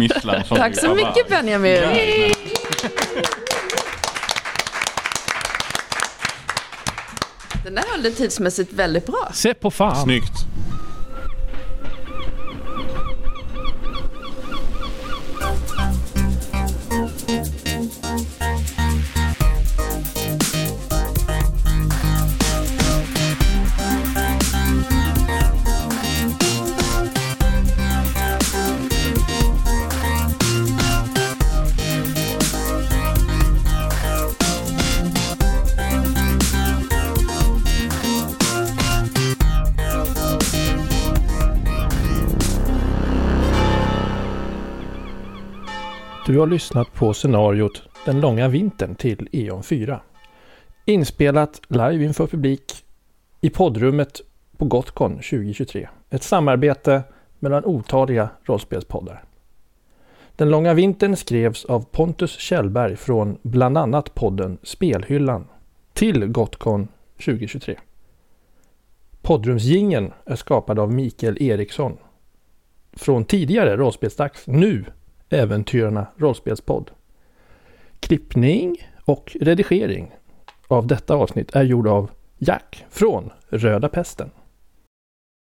S2: Misslan som
S14: Tack
S2: vi
S14: så
S2: var
S14: mycket
S2: varm.
S14: Benjamin.
S2: Jajamän.
S14: Den där höll det tidsmässigt väldigt bra.
S10: Se på fan.
S6: Snyggt.
S10: Du har lyssnat på scenariot Den långa vintern till E E.ON 4. Inspelat live inför publik i poddrummet på Gotcon 2023. Ett samarbete mellan otaliga rollspelspoddar. Den långa vintern skrevs av Pontus Kjellberg från bland annat podden Spelhyllan till Gotcon 2023. Poddrumsjingeln är skapad av Mikael Eriksson från tidigare rollspelsdags nu Äventyrarna rollspelspodd. Klippning och redigering av detta avsnitt är gjord av Jack från Röda Pesten.